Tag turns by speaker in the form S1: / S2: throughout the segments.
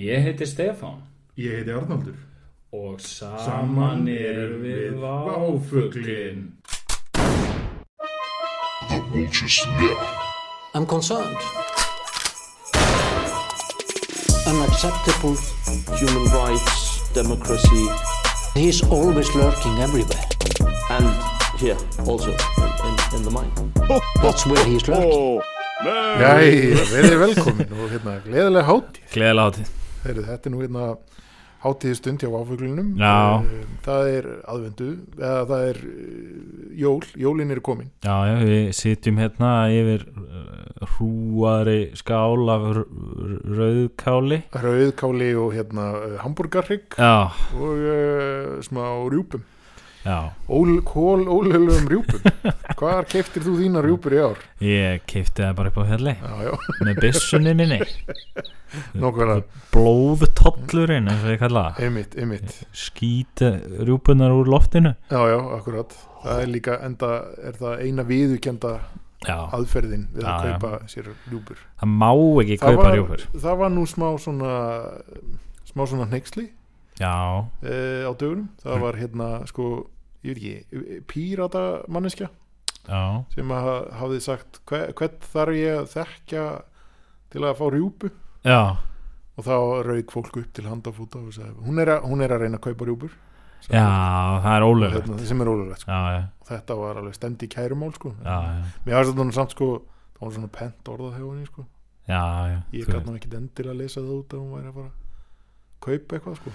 S1: Ég heiti Stefán
S2: Ég heiti Arnaldur.
S1: og saman erum við váfuglin.
S3: I'm concerned. Unacceptable.
S4: human rights, democracy,
S3: He's always lurking everywhere.
S4: and here also in, in, in the mind.
S3: That's where he's lurking.
S5: Jæja, verið velkomin og hérna, gleðilega hátíð.
S1: Gleðilega hátíð.
S5: Heyrðu, þetta er nú hérna hátíðstund hjá áfuglunum.
S1: Já.
S5: Það er aðvendu, eða það er eh, jól, jólin er komin.
S1: Já, já, við sitjum hérna yfir uh, hrúari skál af r- r- rauðkáli.
S5: Rauðkáli og hérna hambúrgarrygg
S1: Já,
S5: og uh, smá rjúpum.
S1: já.
S5: Ól, kól, ólheilum rjúpum. Hvar keftir þú þína rjúpur í ár?
S1: Ég keipti það bara upp á fjalli
S5: Já, já,
S1: með byssunni minni.
S5: nokkvæmlega,
S1: Blóðtollurinn, eins og ég kalla það.
S5: einmitt, einmitt.
S1: Skýta rjúpunar úr loftinu.
S5: Já, já, akkurat. Það er líka, enda, er það eina viðukenda
S1: Já,
S5: aðferðin við að
S1: Já, já.
S5: kaupa sér rjúpur.
S1: það má ekki
S5: það
S1: kaupa
S5: var,
S1: rjúpur.
S5: það var nú smá svona smá svona hneiksli
S1: Já,
S5: uh, á dögunum
S1: Mm.
S5: það var hérna sko ég veit ekki, pírata manneskja
S1: já,
S5: sem að ha- hafði sagt "Hve- hvern þarf ég að þekka til að fá rjúpu
S1: já.
S5: og þá rauk fólk upp til handafúta og sagði hún er að, hún er að reyna að kaupa rjúpur sagði fólk.
S1: Já, það er
S5: Og
S1: ólöflegt.
S5: hérna, sem er ólulegt sko.
S1: Já, já,
S5: þetta var alveg stemd í kærumál sko.
S1: já, já.
S5: mér varst þetta nú samt sko það var svona pent orðað hjá henni sko.
S1: já, já
S5: ég
S1: þú
S5: gæti
S1: veist.
S5: nú ekki endir að lesa það út að hún væri að fara að kaupa eitthvað sko.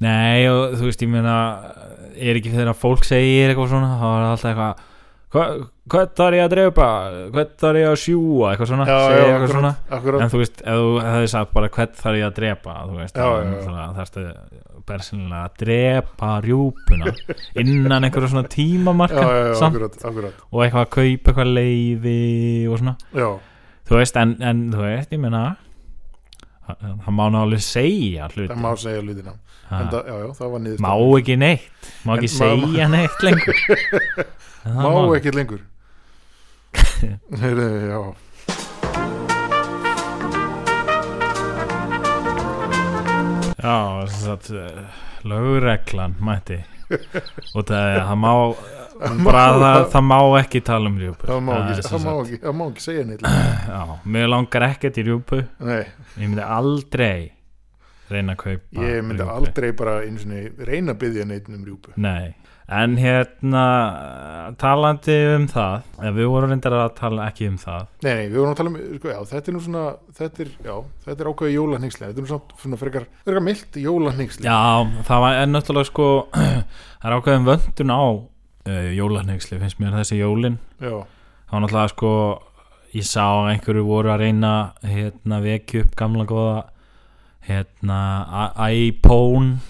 S1: Nei, og þú veist, ég meina er ekki þegar fólk segir eitthvað svona þá er alltaf eitthvað "Hva- hvað þarf ég að drepa, hvað þarf ég að sjúa eitthvað svona, segir eitthvað
S5: akkurat,
S1: svona
S5: akkurat.
S1: en þú veist, ef þú hefði sagt bara hvað þarf ég að drepa, þú veist
S5: Já, já, já.
S1: það þarfstu bersinlega að drepa rjúpuna innan einhverja svona tímamarka
S5: já, já, já,
S1: samt,
S5: akkurat, akkurat
S1: og eitthvað að kaupa eitthvað leifi og svona
S5: já,
S1: þú veist, en, en þú veist, ég meina það- það má nálega segja hluti
S5: það má segja hlutina
S1: Ha.
S5: en það, já, já, það var niður
S1: má ekki neitt má ekki
S5: En má-
S1: segja neitt lengur Það
S5: má
S1: má-
S5: ekki lengur Heyrðu, já
S1: já, satt, lögreglan mætti og það, það má bara það, það má ekki tala um rjúpu
S5: það má
S1: er
S5: ekki,
S1: sem
S5: það má
S1: sagt-
S5: ekki, það má ekki segja neitt lengur.
S1: já, mér langar ekkert í rjúpu
S5: nei,
S1: ég myndi aldrei reyna að kaupa
S5: ég myndi
S1: rjúpu.
S5: aldrei bara einu sinni reyna að byggja neitt um rjúpu
S1: Nei, en hérna talandi um það eh, við vorum reyndar að tala ekki um það
S5: nei, nei, við vorum að tala um, sko, já, þetta er nú svona þetta er, já, þetta er ákveði jólahningsli þetta er nú svona, svona frekar, frekar milt jólahningsli
S1: Já, það var en náttúrulega sko það er ákveðin vöndun á uh, jólarnegsli, finnst mér þessi jólin
S5: já,
S1: það var náttúrulega sko ég sá að einhverju voru að reyna hérna vekju upp gamla góða hérna I- iPhone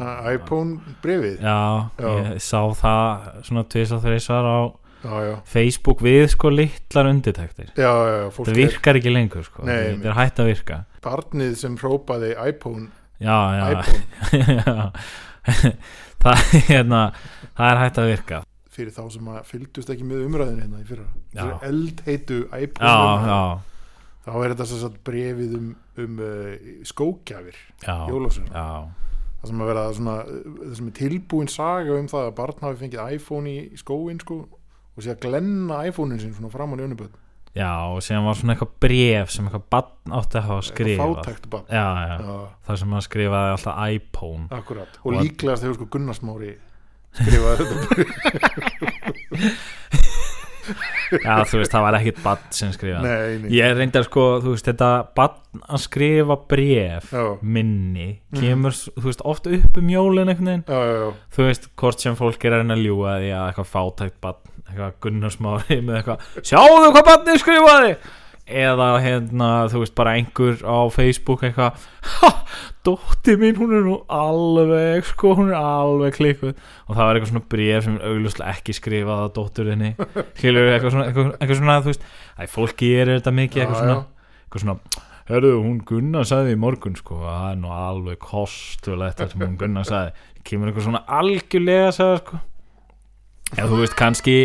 S5: A- iPhone brefið,
S1: já,
S5: Já.
S1: ég sá það svona tvis og þreysar á
S5: já, já
S1: Facebook við sko litlar undirtektir
S5: Já, já, já,
S1: það
S5: fólk er
S1: virkar ekki lengur sko
S5: Nei,
S1: þetta er hætt að virka
S5: barnið sem hrópaði iPhone,
S1: já, já,
S5: iPhone
S1: já. það, hérna, það er hætt að virka
S5: fyrir þá sem að fylgdust ekki með umræðinu hérna í fyrra
S1: Já.
S5: þessar eldheitu
S1: já,
S5: iPhone
S1: já,
S5: þá er þetta sem sagt brefið um, um uh, skókjafir
S1: já,
S5: jólasveina.
S1: já,
S5: það sem að vera svona, uh, það sem er tilbúin saga um það að barn hafi fengið iPhone í, í skóin sko og sé að glenna iPhone-in sin svona framan í önnuböð
S1: já, og síðan var svona eitthvað bref sem eitthvað bann átti að hafa skrifað já,
S5: fátækt barn
S1: já,
S5: Já,
S1: það sem hann skrifaði alltaf iPhone
S5: akkurat og
S1: Og-
S5: líklegast hefur sko Gunnarsmári skrifað þetta bref.
S1: já, þú veist, það var ekkit bann sem skrifaði
S5: nei, nei,
S1: ég reyndi að sko, þú veist, þetta bann að skrifa bref
S5: Já. Mhm.
S1: minni, kemur, þú veist, oft upp um jólin einhvern veginn,
S5: já, já, já,
S1: þú veist, hvort sem fólk er að reyna að ljúga því að eitthvað fátækt bann, eitthvað gunnarsmári með eitthvað, sjáðu hvað bannir skrifaði eða hérna, þú veist, bara einhver á Facebook eitthvað ha, dótti mín, hún er nú alveg, sko, hún er alveg klikkuð og það var eitthvað svona bréf sem er augljóslega ekki skrifað að dótturinni skilur eitthvað svona, eitthvað, eitthvað svona, þú veist æ, fólk gerir þetta mikið, eitthvað
S5: Já,
S1: svona
S5: já.
S1: eitthvað svona, herðu, hún Gunnar sagði í morgun, sko, að það er nú alveg kostulegt það sem hún Gunnar sagði kemur eitthvað svona algjörlega sagði, sko eða þú veist, kannski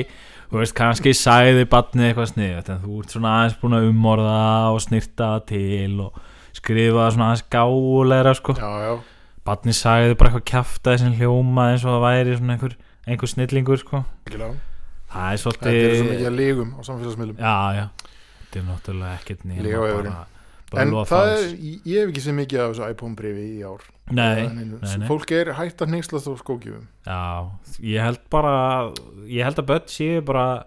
S1: þú veist, kannski sagði barnið eitthvað sniðið en þú ert svona aðeins búin að umorða og snirta það til og skrifaða svona aðeins gáulegra sko.
S5: já, já,
S1: Barni sagði bara eitthvað kjaftaði sem hljóma eins og það væri svona einhver, einhver snillingur sko.
S5: mikilvæg
S1: Það er
S5: Þetta er svo mikið
S1: svolítið
S5: að lígum á samfélagsmiðlum
S1: Eh, Já, já Þetta er náttúrulega ekkert nýjum
S5: Líka vefurinn. En það er, ég ég hef ekki séð mikið af þessu iPhone brifi í ár
S1: Nei,
S5: En einu-
S1: nei, nei.
S5: Fólk er hægt að hneykslast á skókjöfum
S1: Já, ég held bara ég held að börn séu bara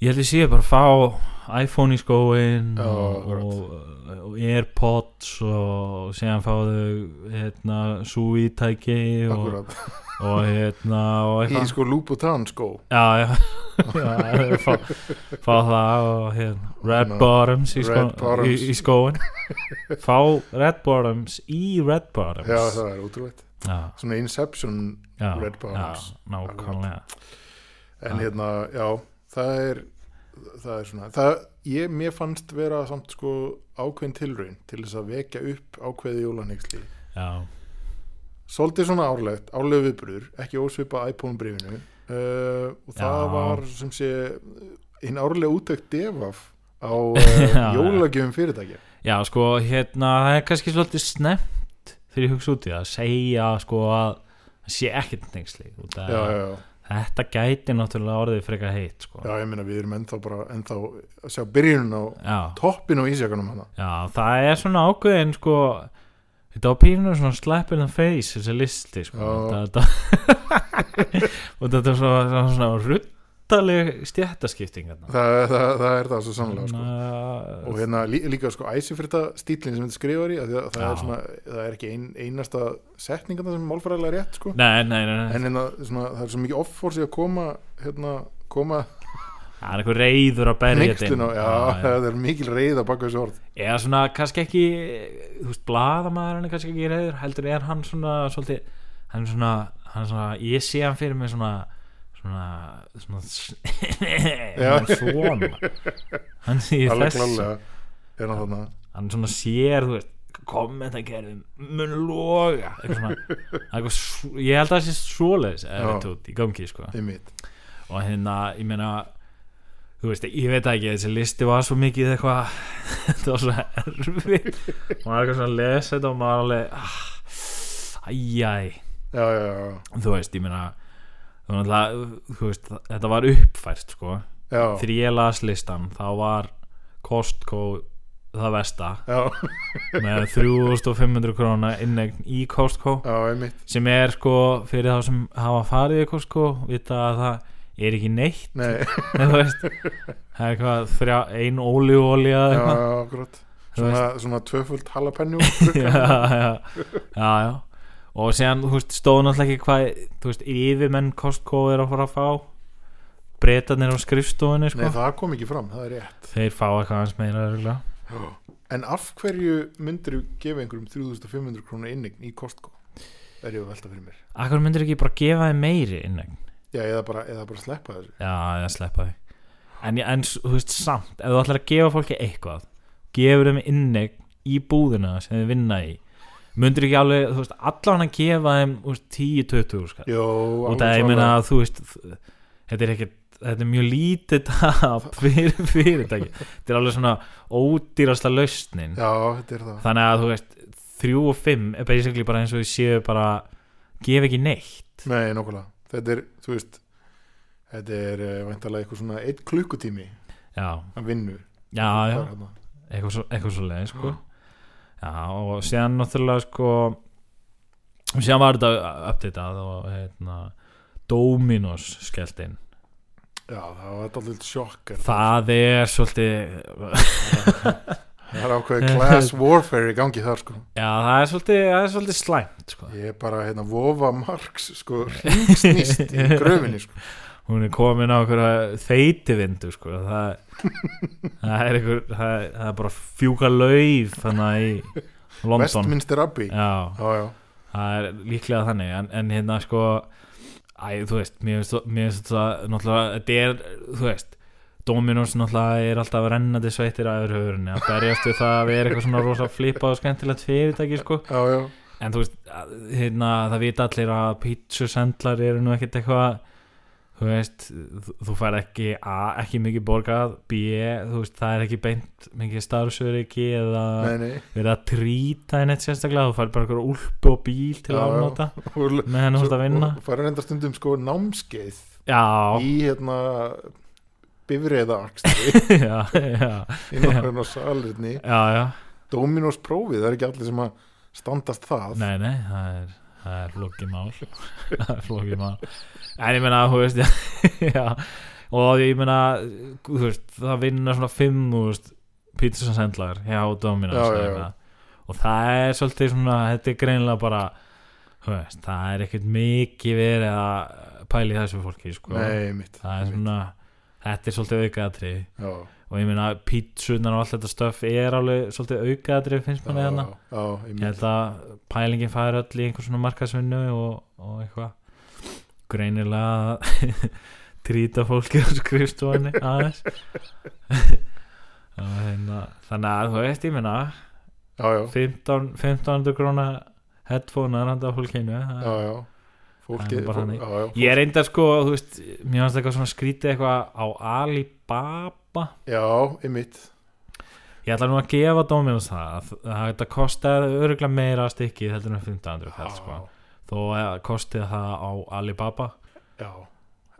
S1: ég held að séu bara að fá iPhone í skóin
S5: Já,
S1: og, og, og Airpods og séðan fá þau hérna, súvítæki og,
S5: Akkurat
S1: og hérna og
S5: Í
S1: eitthvað
S5: sko Louboutin skó
S1: Já, já, já þau fá, fá það og hérna, Red
S5: Ná,
S1: Bottoms í,
S5: Red
S1: skó, í,
S5: Bottoms.
S1: í skóin fá Red Bottoms í Red Bottoms
S5: Já, það er útrúvægt
S1: já,
S5: Svona Inception
S1: já,
S5: Red Bottoms.
S1: já, Nákvæmlega
S5: En
S1: Já.
S5: hérna, já, það er það er svona það, Ég, mér fannst vera samt sko ákveðin tilraun til þess að vekja upp ákveði jólaneyksli
S1: Já,
S5: Svolítið svona árlegt, árlegu viðbröður, ekki ósvipa iPhone brifinu uh, og það
S1: Já.
S5: var sem sé hinn árlega úttökt devaf á uh,
S1: Já.
S5: jólagjöfum fyrirtækja.
S1: Já, sko, hérna, það er kannski svolítið snemt þegar ég hugsa út í það að segja, sko, að það sé ekkert nengsli út
S5: Já,
S1: að
S5: já, já,
S1: þetta gæti náttúrulega orðið frekar heitt, sko.
S5: já, ég meina við erum ennþá bara, ennþá að sjá byrjunum á
S1: Já,
S5: toppin á ísjakanum hana.
S1: já, það er svona ákveðin, sko, þetta á pínu svona slap in the face, þessi listi, sko.
S5: Já.
S1: Þetta, og þetta er svona, svona, svona ruttaleg stjættaskipting, þarna.
S5: Það, það, það er það svo sannlega, sko.
S1: Þannig
S5: Og
S1: að-
S5: hérna lí, líka sko æsifyrta stílinn sem þetta skrifar í, af því að það
S1: Já.
S5: er svona, það er ekki ein, einasta setningana sem er málfræðilega rétt, sko.
S1: Nei, nei, nei, nei.
S5: En hérna, svona, það er svo mikið offorsi að koma, hérna, koma
S1: það er einhver reyður að berja þetta inn.
S5: neykslun á, já, það er mikil reyð að baka þessu orð
S1: eða svona kannski ekki þú veist, blaðamaðurinn er kannski ekki reyður heldur er hann svona svolítið, hann er svona, hann er svona ég sé hann fyrir mig svona svona, svona
S5: Já.
S1: hann er svona hann sé
S5: alveg
S1: þess
S5: klálega er hann þarna
S1: hann svona sér þú veist kommentakerfum mun loga eitthvað svona, eitthvað, svo- ég held að það sé svoleiðis eða tótt í gangi sko
S5: í mitt
S1: og hérna, ég meina þú veist, ég veit það ekki, þessi listi var svo mikið eitthvað þetta var svo erfitt maður er eitthvað svona að lesa þetta og maður alveg ah, æjæ,
S5: já, já, já,
S1: þú veist, ég meina þú náttúrulega, þú veist, þetta var uppfært sko,
S5: já,
S1: þegar ég las listan þá var Costco það vesta
S5: já,
S1: með 3500 króna innegn í Costco
S5: já, í mitt
S1: sem er sko, fyrir þá sem hafa farið í Costco, vita að það er ekki neitt
S5: nei,
S1: Nei, þú veist það er eitthvað þrjá, ein ólíuolja
S5: já,
S1: eitthvað
S5: já, akkurat
S1: Þú veist.
S5: svona, svona tvöfuldt halapenjú
S1: já, já, já, já og síðan, þú veist, stóð náttúrulega ekki hvað þú veist, yfirmenn Costco er að fara að fá breytanir á skrifstofunni,
S5: nei,
S1: sko
S5: það kom ekki fram, það er rétt
S1: þeir fá eitthvað aðeins meira örugglega.
S5: en af hverju myndir þú gefa einhverjum 3500 krónu innign í Costco er ég að velta fyrir mér
S1: Akkur myndir ekki bara gefa þeim meiri innegn
S5: já, eða bara, eða bara sleppa þessu
S1: Já, ég sleppa því En, ég- en s- þú veist, samt, ef þú ætlar að gefa fólki eitthvað gefur þeim innegn í búðina sem þið vinna í myndir ekki alveg, þú veist, allan að gefa þeim þú veist, 10-20 skall
S5: Jó,
S1: og
S5: alveg
S1: það ég meina
S5: klárlega.
S1: að þú veist þ- þetta er ekkert þetta er mjög lítið tap fyrir fyrirtæki þetta er alveg svona ódýrasta lausnin
S5: já, þetta er það
S1: þannig að þú veist 3 og 5 er basically bara eins og við séu bara gef ekki neitt
S5: nei, nokkulega, þetta er, þú veist þetta er uh, væntalega eitthvað svona eitt klukkutími
S1: já,
S5: að vinnu
S1: já, já,
S5: Það er þarna.
S1: eitthvað svo, eitthvað svo leið sko. já, og síðan náttúrulega sko síðan var þetta uppdatað og hérna Dominos skellt inn
S5: Já, það var þetta alltaf sjokk er það.
S1: það er svolítið
S5: það er ákveðið class warfare í gangi þar sko
S1: Já, það er svolítið, það er svolítið slæmt sko.
S5: Ég er bara hérna vofa Marx sko ringsnýst í gröfinni sko
S1: Hún er komin á einhverja þeitivindu sko. það, það, er einhver, það, er- það er bara fjúka lauf þannig í London
S5: Westminster Abbey Já,
S1: Já,
S5: já,
S1: það er líklega þannig en, en hérna sko Æ, þú veist, mér finnst- mér finnst það náttúrulega, þetta er, þú veist Dominos náttúrulega er alltaf rennandi sveitir að öðru höfurinn að berjast við það að vera eitthvað svona rosa flipað og skemmtilegt fyrirtæki sko
S5: já, já
S1: en þú veist að- hérna, það vita allir að pítsusendlar eru nú ekkert eitthvað þú þú veist, þú, þú fær ekki A, ekki mikið borgað B, þú veist, það er ekki beint mikið starfsöryggi eða
S5: nei, nei,
S1: verið að trýta henni sérstaklega, þú fær bara einhverja úlpu og bíl til
S5: Já,
S1: að
S5: já.
S1: afnota
S5: og
S1: með henni hótt að vinna
S5: fara reynda stundum sko námskeið
S1: já,
S5: í hérna bifriða akstri
S1: já, já,
S5: í náttúrulega salerni
S1: já, já
S5: Dominos prófið, það er ekki allir sem að standast það
S1: Nei, nei, það er, það er flókið mál Það er flókið mál En ég meina, þú veist já, já, Og ég meina, þú veist Það vinna svona fimm, þú veist Pítsusensendlar, já, Dominos
S5: Já,
S1: eða
S5: já, já.
S1: eitthvað. Og það er svolítið svona Þetta er greinilega bara þú veist, Það er ekkert mikið verið að pæli þessu fólki sko.
S5: Nei, mitt
S1: Það er svona Þetta er svolítið aukaðatri
S5: já,
S1: Og ég meina, pítsunar og allt þetta stöf Er alveg svolítið aukaðatri, finnst
S5: já,
S1: manni þarna
S5: já,
S1: hérna. ég
S5: einmitt.
S1: held að pælingin fær öll í einhver svona markasvinnu og, og eitthvað greinilega að trýta fólki á skrifstofanni aðeins Og hérna, þannig að þú veist ég minna
S5: já, já,
S1: 15 1500 króna headphonear handa fólkinu það-
S5: já,
S1: Það
S5: já
S1: er
S5: fólkið,
S1: bara
S5: fólk,
S1: þannig.
S5: já, já, fólk,
S1: ég er einnig sko, þú veist mér fannst eitthvað svona skrítið eitthvað á Alibaba
S5: já, einmitt
S1: ég ætla nú að gefa Dominus það að að þetta kostar öruglega meira að stykkið heldur en 1500
S5: Já,
S1: kall sko. þó að kostið það á Alibaba
S5: já,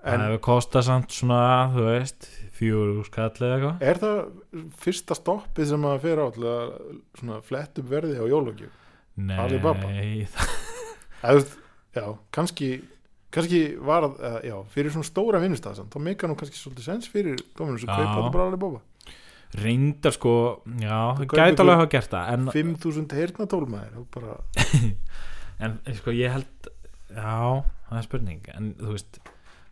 S1: það
S5: en
S1: hefur kostað samt svona þú veist, fjögur skall eða eitthvað
S5: er það fyrsta stoppið sem að fyrir allir svona flett upp verði á jólagjöf
S1: Nei,
S5: Alibaba?
S1: það,
S5: Eða, þú veist, já, kannski kannski var að, eða, já, fyrir svona stóra vinnustæðsan, þá meika nú kannski svolítið sens fyrir Dominus að
S1: Já.
S5: kaupa þetta bara alveg bófa
S1: reyndar sko já,
S5: Þú
S1: það
S5: kaupir
S1: gæti alveg
S5: ykkur-
S1: hafa gert það en,
S5: 5.000 heyrnatól maður þú bara,
S1: en sko ég held já, það er spurning en þú veist,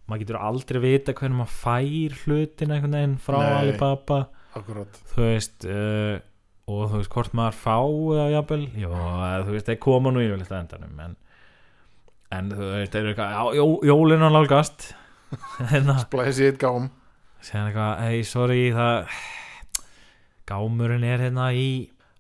S1: maður getur aldrei vita hvernig maður fær hlutin einhvern veginn frá
S5: Nei.
S1: Alibaba
S5: akkurat
S1: þú veist uh, og þú veist hvort maður fá eða jafnvel, já, eða þú veist, þeir koma nú yfirleitt að endanum en, en þú veist, þeir eru eitthvað, já, jó, jólinn á nálgast en það
S5: splæsi eitt gám
S1: segja eitthvað, hei, sorry það, gámurinn er hérna í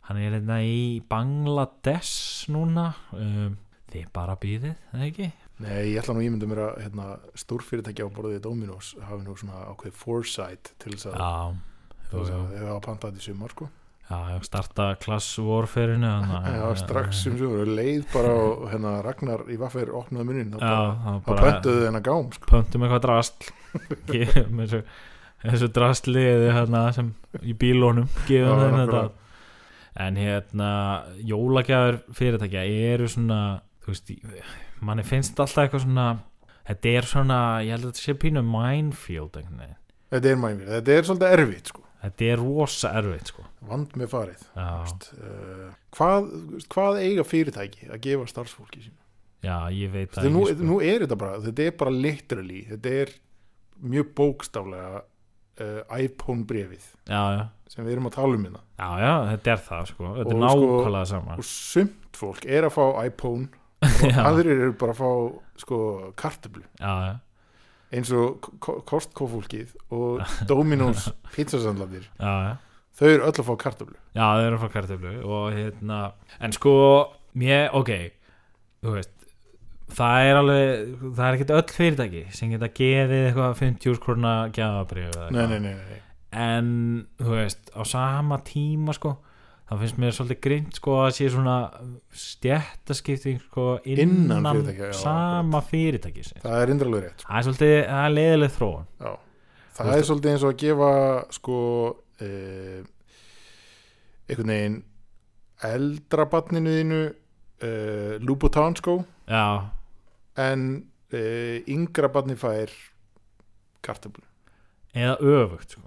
S1: hann er hérna í Bangladesh núna um, þið bara býðið, eða ekki
S5: Nei, ég ætla nú að ímynda mér að hérna, stórfyrirtæki á borðið Dominos hafi nú svona ákveðið foresight til þess að,
S1: já,
S5: til
S1: jú,
S5: þess
S1: jú,
S5: að þeir hafa pantað þetta í sumar sko.
S1: já, já starta klassvorferinu
S5: Já,
S1: hérna.
S5: strax um- sem sumar, leið bara og hérna, Ragnar í Vaffer opnaði munnin þá
S1: já,
S5: bara-
S1: það
S5: þá pöntuðu þennan gám sko.
S1: pöntum eitthvað drasl gefum þessu, þessu drasli eða hérna sem í bílónum gefum
S5: Já,
S1: þeim þetta
S5: nákvæmlega.
S1: en hérna jólagjafur fyrirtækja eru svona þú veist, í- manni finnst alltaf eitthvað svona þetta er svona, ég held að þetta sé pínu minefield einhvern veginn,
S5: Þetta er mæmir, þetta er svolítið erfitt sko.
S1: þetta er rosa erfitt sko
S5: vand með farið
S1: já,
S5: uh, hvað, hvað eiga fyrirtæki að gefa starfsfólki sín
S1: já ég veit
S5: þetta, er nú,
S1: ekki, sko.
S5: nú er þetta bara, þetta er bara literally, þetta er mjög bókstaflega uh, iPhone brefið
S1: já, já,
S5: sem við erum að tala um hérna
S1: já, já, þetta er það sko þetta er
S5: Og sko-
S1: nákvæmlega saman
S5: og sumt fólk er að fá iPhone og
S1: já,
S5: aðrir eru bara að fá sko kartablu
S1: já, já,
S5: eins og Ko- Costco fólkið og Domino's pizzasandlandir
S1: já, já
S5: þau eru öll að fá kartablu
S1: Já, þau eru frá kartöflu og hérna, en sko mér, ok, þú veist það er alveg það er ekkert öll fyrirtæki sem geta gefið eitthvað 50 krona gjafabrif
S5: nei, nei, nei, nei,
S1: en þú veist, á sama tíma sko, þá finnst mér svolítið grint sko að sé svona stjættaskipting sko innan,
S5: Innan fyrirtækja, já,
S1: sama fyrirtæki sem.
S5: það er indralegu rétt sko.
S1: það er svolítið, það er leiðileg þróun
S5: Já.
S1: Þú
S5: það
S1: veist-
S5: er svolítið eins og að gefa sko eh, einhvern veginn eldra batninu þínu eh, Louboutin sko
S1: já,
S5: en eh, yngra batni fær kartablu
S1: eða öfugt sko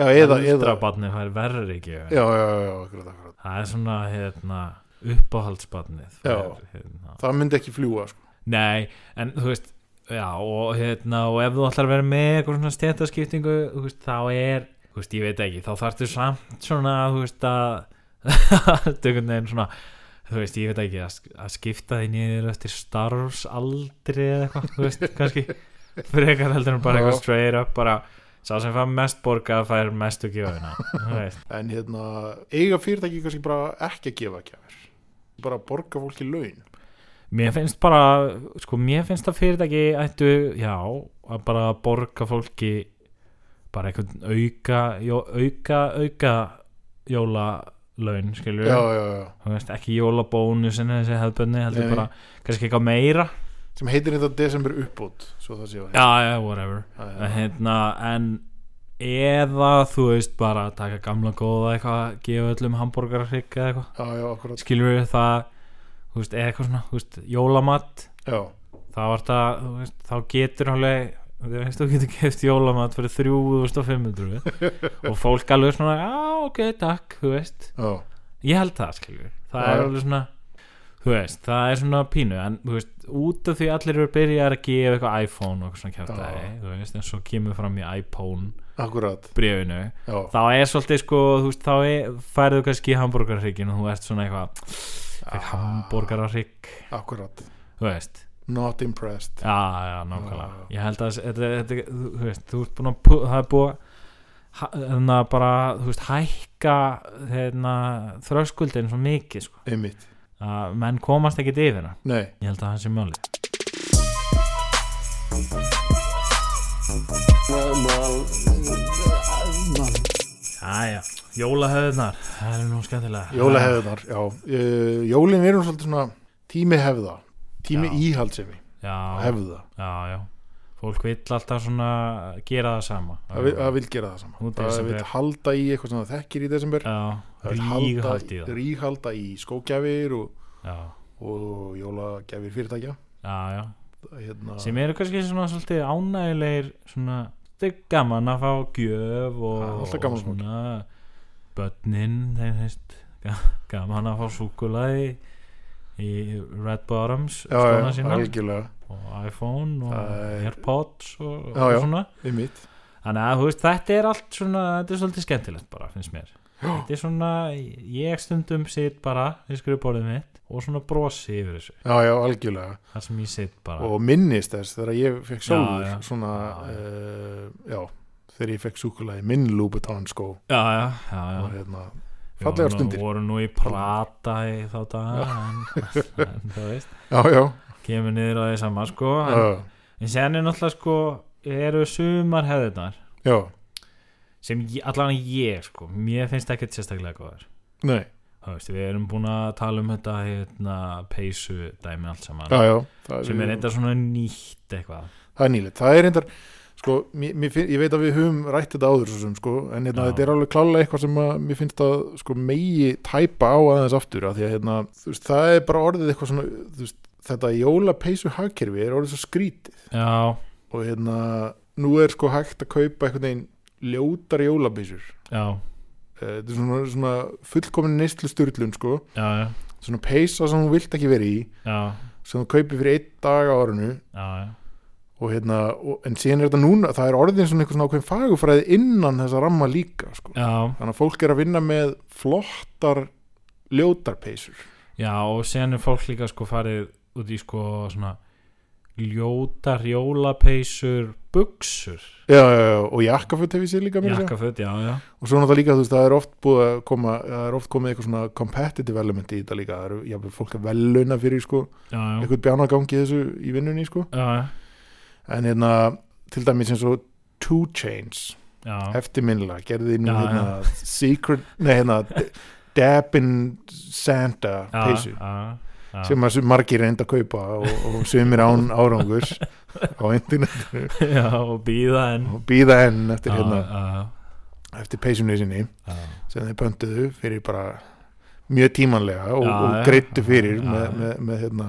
S5: já, eða, eða,
S1: eldra barnið fær verri ekki
S5: já, já, já, já, akkurat, akkurat
S1: Það er svona hérna, uppáhaldsbarnið
S5: Já.
S1: hérna.
S5: það myndi ekki fljúa sko.
S1: Nei, en þú veist Já, og, hérna, og ef þú ætlar að vera með eitthvað svona stjættaskiptingu þú veist, þá er, þú veist, ég veit ekki þá þarftu samt svona þú veist að tökum neginn svona þú veist, ég veit ekki að, sk- að skipta því niður eftir starfsaldri eða eitthvað, þú veist, kannski frekar heldur en bara
S5: Já.
S1: eitthvað straight up bara sá sem fær mest borgað fær mestu gjöfina þú veist,
S5: en hérna, eiga fyrirtæki kannski bara ekki að gefa gjafir bara borga fólki laun
S1: mér finnst bara sko, mér finnst að fyrirtæki ættu já, að bara borga fólki bara einhvern auka jó, auka, auka jólalaun, skilur
S5: já, já, já.
S1: þú veist, ekki jólabónusin þessi hefðbönni, heldur
S5: Nei.
S1: bara kannski eitthvað meira
S5: sem heitir þetta desember uppbót svo það sé að
S1: já, já, Eh, whatever
S5: Já, já.
S1: hérna, en eða þú veist bara taka gamla góða eitthvað, gefa öllum hambúrgarhrygg eða eitthvað,
S5: já, já, akkurat
S1: skilur við það þú veist, eða eitthvað svona, þú veist, jólamat
S5: já,
S1: þá var það, þú veist, þá getur alveg þú veist, þú getur keft jólamat fyrir 3500 og fólk alveg svona, já, ok, takk þú veist,
S5: já,
S1: ég held það skilur við. það
S5: Já,
S1: er
S5: já.
S1: alveg svona þú veist, það er svona pínu en þú veist, út af því allir eru byrjar að gefa eitthvað iPhone og eitthvað svona kjæftæði
S5: Já.
S1: þú veist, en svo kemur fram í iPhone
S5: akkurat
S1: bréfinu,
S5: já,
S1: þá er svolítið sko, þú veist, þá er, færðu kannski hambúrgarhryggin og þú ert svona eitthvað fekk hambúrgarhrygg,
S5: Ah, akkurat
S1: þú veist
S5: not impressed
S1: já, já, nákvæmlega
S5: Já, já.
S1: ég held að þess- þetta, þetta, þú þú veist, þú ert búin að pu- það er búið að þannig að bara, þú veist, hækka þeirna, þröskuldin svo mikið, sko,
S5: einmitt,
S1: að menn komast ekkit yfir hana,
S5: nei,
S1: ég held að það sé mjölið
S4: Well, well,
S1: Jæja, jólahöðnar það er nú skemmtilega
S5: jólahefðunar já, uh, jólin eru svolítið svona tími hefða, tími
S1: Já.
S5: íhaldsemi
S1: já,
S5: hefða,
S1: já, já, fólk vill alltaf svona gera það sama
S5: það vil, það vil gera það
S1: Nú
S5: sama það
S1: desember.
S5: vil halda í eitthvað sem það þekkir í desember
S1: já,
S5: Það vill halda-
S1: ríghald í það
S5: ríghalda í skógjafir og,
S1: já,
S5: og jólagjafir fyrirtækja
S1: já, já
S5: hérna,
S1: sem eru kannski svona svolítið ánægilegir svona, þetta er gaman að fá gjöf og,
S5: Það er alltaf gaman
S1: og
S5: að fá
S1: svona börnin, þeir veist gaman að fá súkulaði í Red Bottoms
S5: já,
S1: skóna
S5: já,
S1: sína
S5: algjörlega,
S1: og iPhone og
S5: Það er-
S1: Airpods og, og
S5: Já, já.
S1: svona
S5: einmitt
S1: þannig að þú veist þetta er allt svona þetta er svolítið skemmtilegt bara finnst mér þetta er svona, ég stundum sitt bara við skrifborðið mitt og svona brosi yfir þessu
S5: já, já, algjörlega
S1: þar sem ég sitt bara
S5: og minnist þess þegar ég fekk
S1: Já,
S5: sjálfur
S1: já.
S5: svona
S1: Já,
S5: já, já. þegar ég fekk súkulega í minn Louboutin sko
S1: já, já, já, já.
S5: og hérna, fallegar
S1: Við
S5: stundir
S1: vorum nú- vorum nú í prata í þá dag en, en þú veist
S5: já, já,
S1: kemur niður á því sama sko en,
S5: já,
S1: en sen er náttúrulega sko eru sumar hefðirnar
S5: já
S1: sem ég, allan ég sko mér finnst ekkert sérstaklega góðar
S5: nei,
S1: Þú veist, við erum búin að tala um þetta hérna, peysu dæmi allt saman
S5: já, já það
S1: sem er eitthvað svona nýtt eitthvað
S5: það er nýlegt, það er reyndar sko, mér, mér finn, ég veit að við höfum rætt þetta áður svo sem, sko, en hérna,
S1: Já.
S5: þetta er alveg klálega eitthvað sem að, mér finnst að sko, megi tæpa á aðeins aftur af því að hérna, þú veist, það er bara orðið eitthvað svona, þú veist, þetta jólapeysu hagkerfi er orðið svo skrítið
S1: já,
S5: og hérna, nú er sko hægt að kaupa einhvern veginn ljótar jólapeysur Eh,
S1: já,
S5: þetta er svona, svona fullkomin neyslu styrlun sko,
S1: já já,
S5: svona peysa sem þú vilt ekki verið í
S1: já,
S5: sem þú kaupir fyrir einn dag á árinu
S1: já, já.
S5: og hérna, og, en síðan er þetta núna það er orðin svona einhver svona ákveðin fagufræði innan þessa ramma líka sko.
S1: já,
S5: þannig að fólk er að vinna með flottar ljótarpeysur
S1: já og sen er fólk líka sko farið út í sko svona ljótar, jólapeysur buksur,
S5: já, já, já, og jakkaföt hefur sér líka meira að segja.
S1: jakkaföt já, já,
S5: og svo náttúrulega líka, þú veist, það er oft búið að koma það er oft komið eitthvað svona competitive element í þetta líka, það eru, já, fólk er veluna fyrir, sko,
S1: já, já,
S5: eitthvað bjánagangi í þessu í vinnunni, sko,
S1: já,
S5: en hérna til dæmis eins og Two Chains,
S1: já, já.
S5: eftirminnilega gerði nú
S1: Já,
S5: hérna Secret, nei, hérna Dabbin Santa peysu
S1: já, já.
S5: sem að sum- margir reynda að kaupa og, og sumir án árangurs á internetinu
S1: já, og býða en
S5: og býða enn eftir, hérna,
S1: já, já,
S5: eftir peysunni sinni
S1: já,
S5: sem þeir pöntuðu fyrir bara mjög tímanlega og,
S1: Já, já.
S5: og greittu fyrir
S1: Já,
S5: með,
S1: já.
S5: með, með, hérna,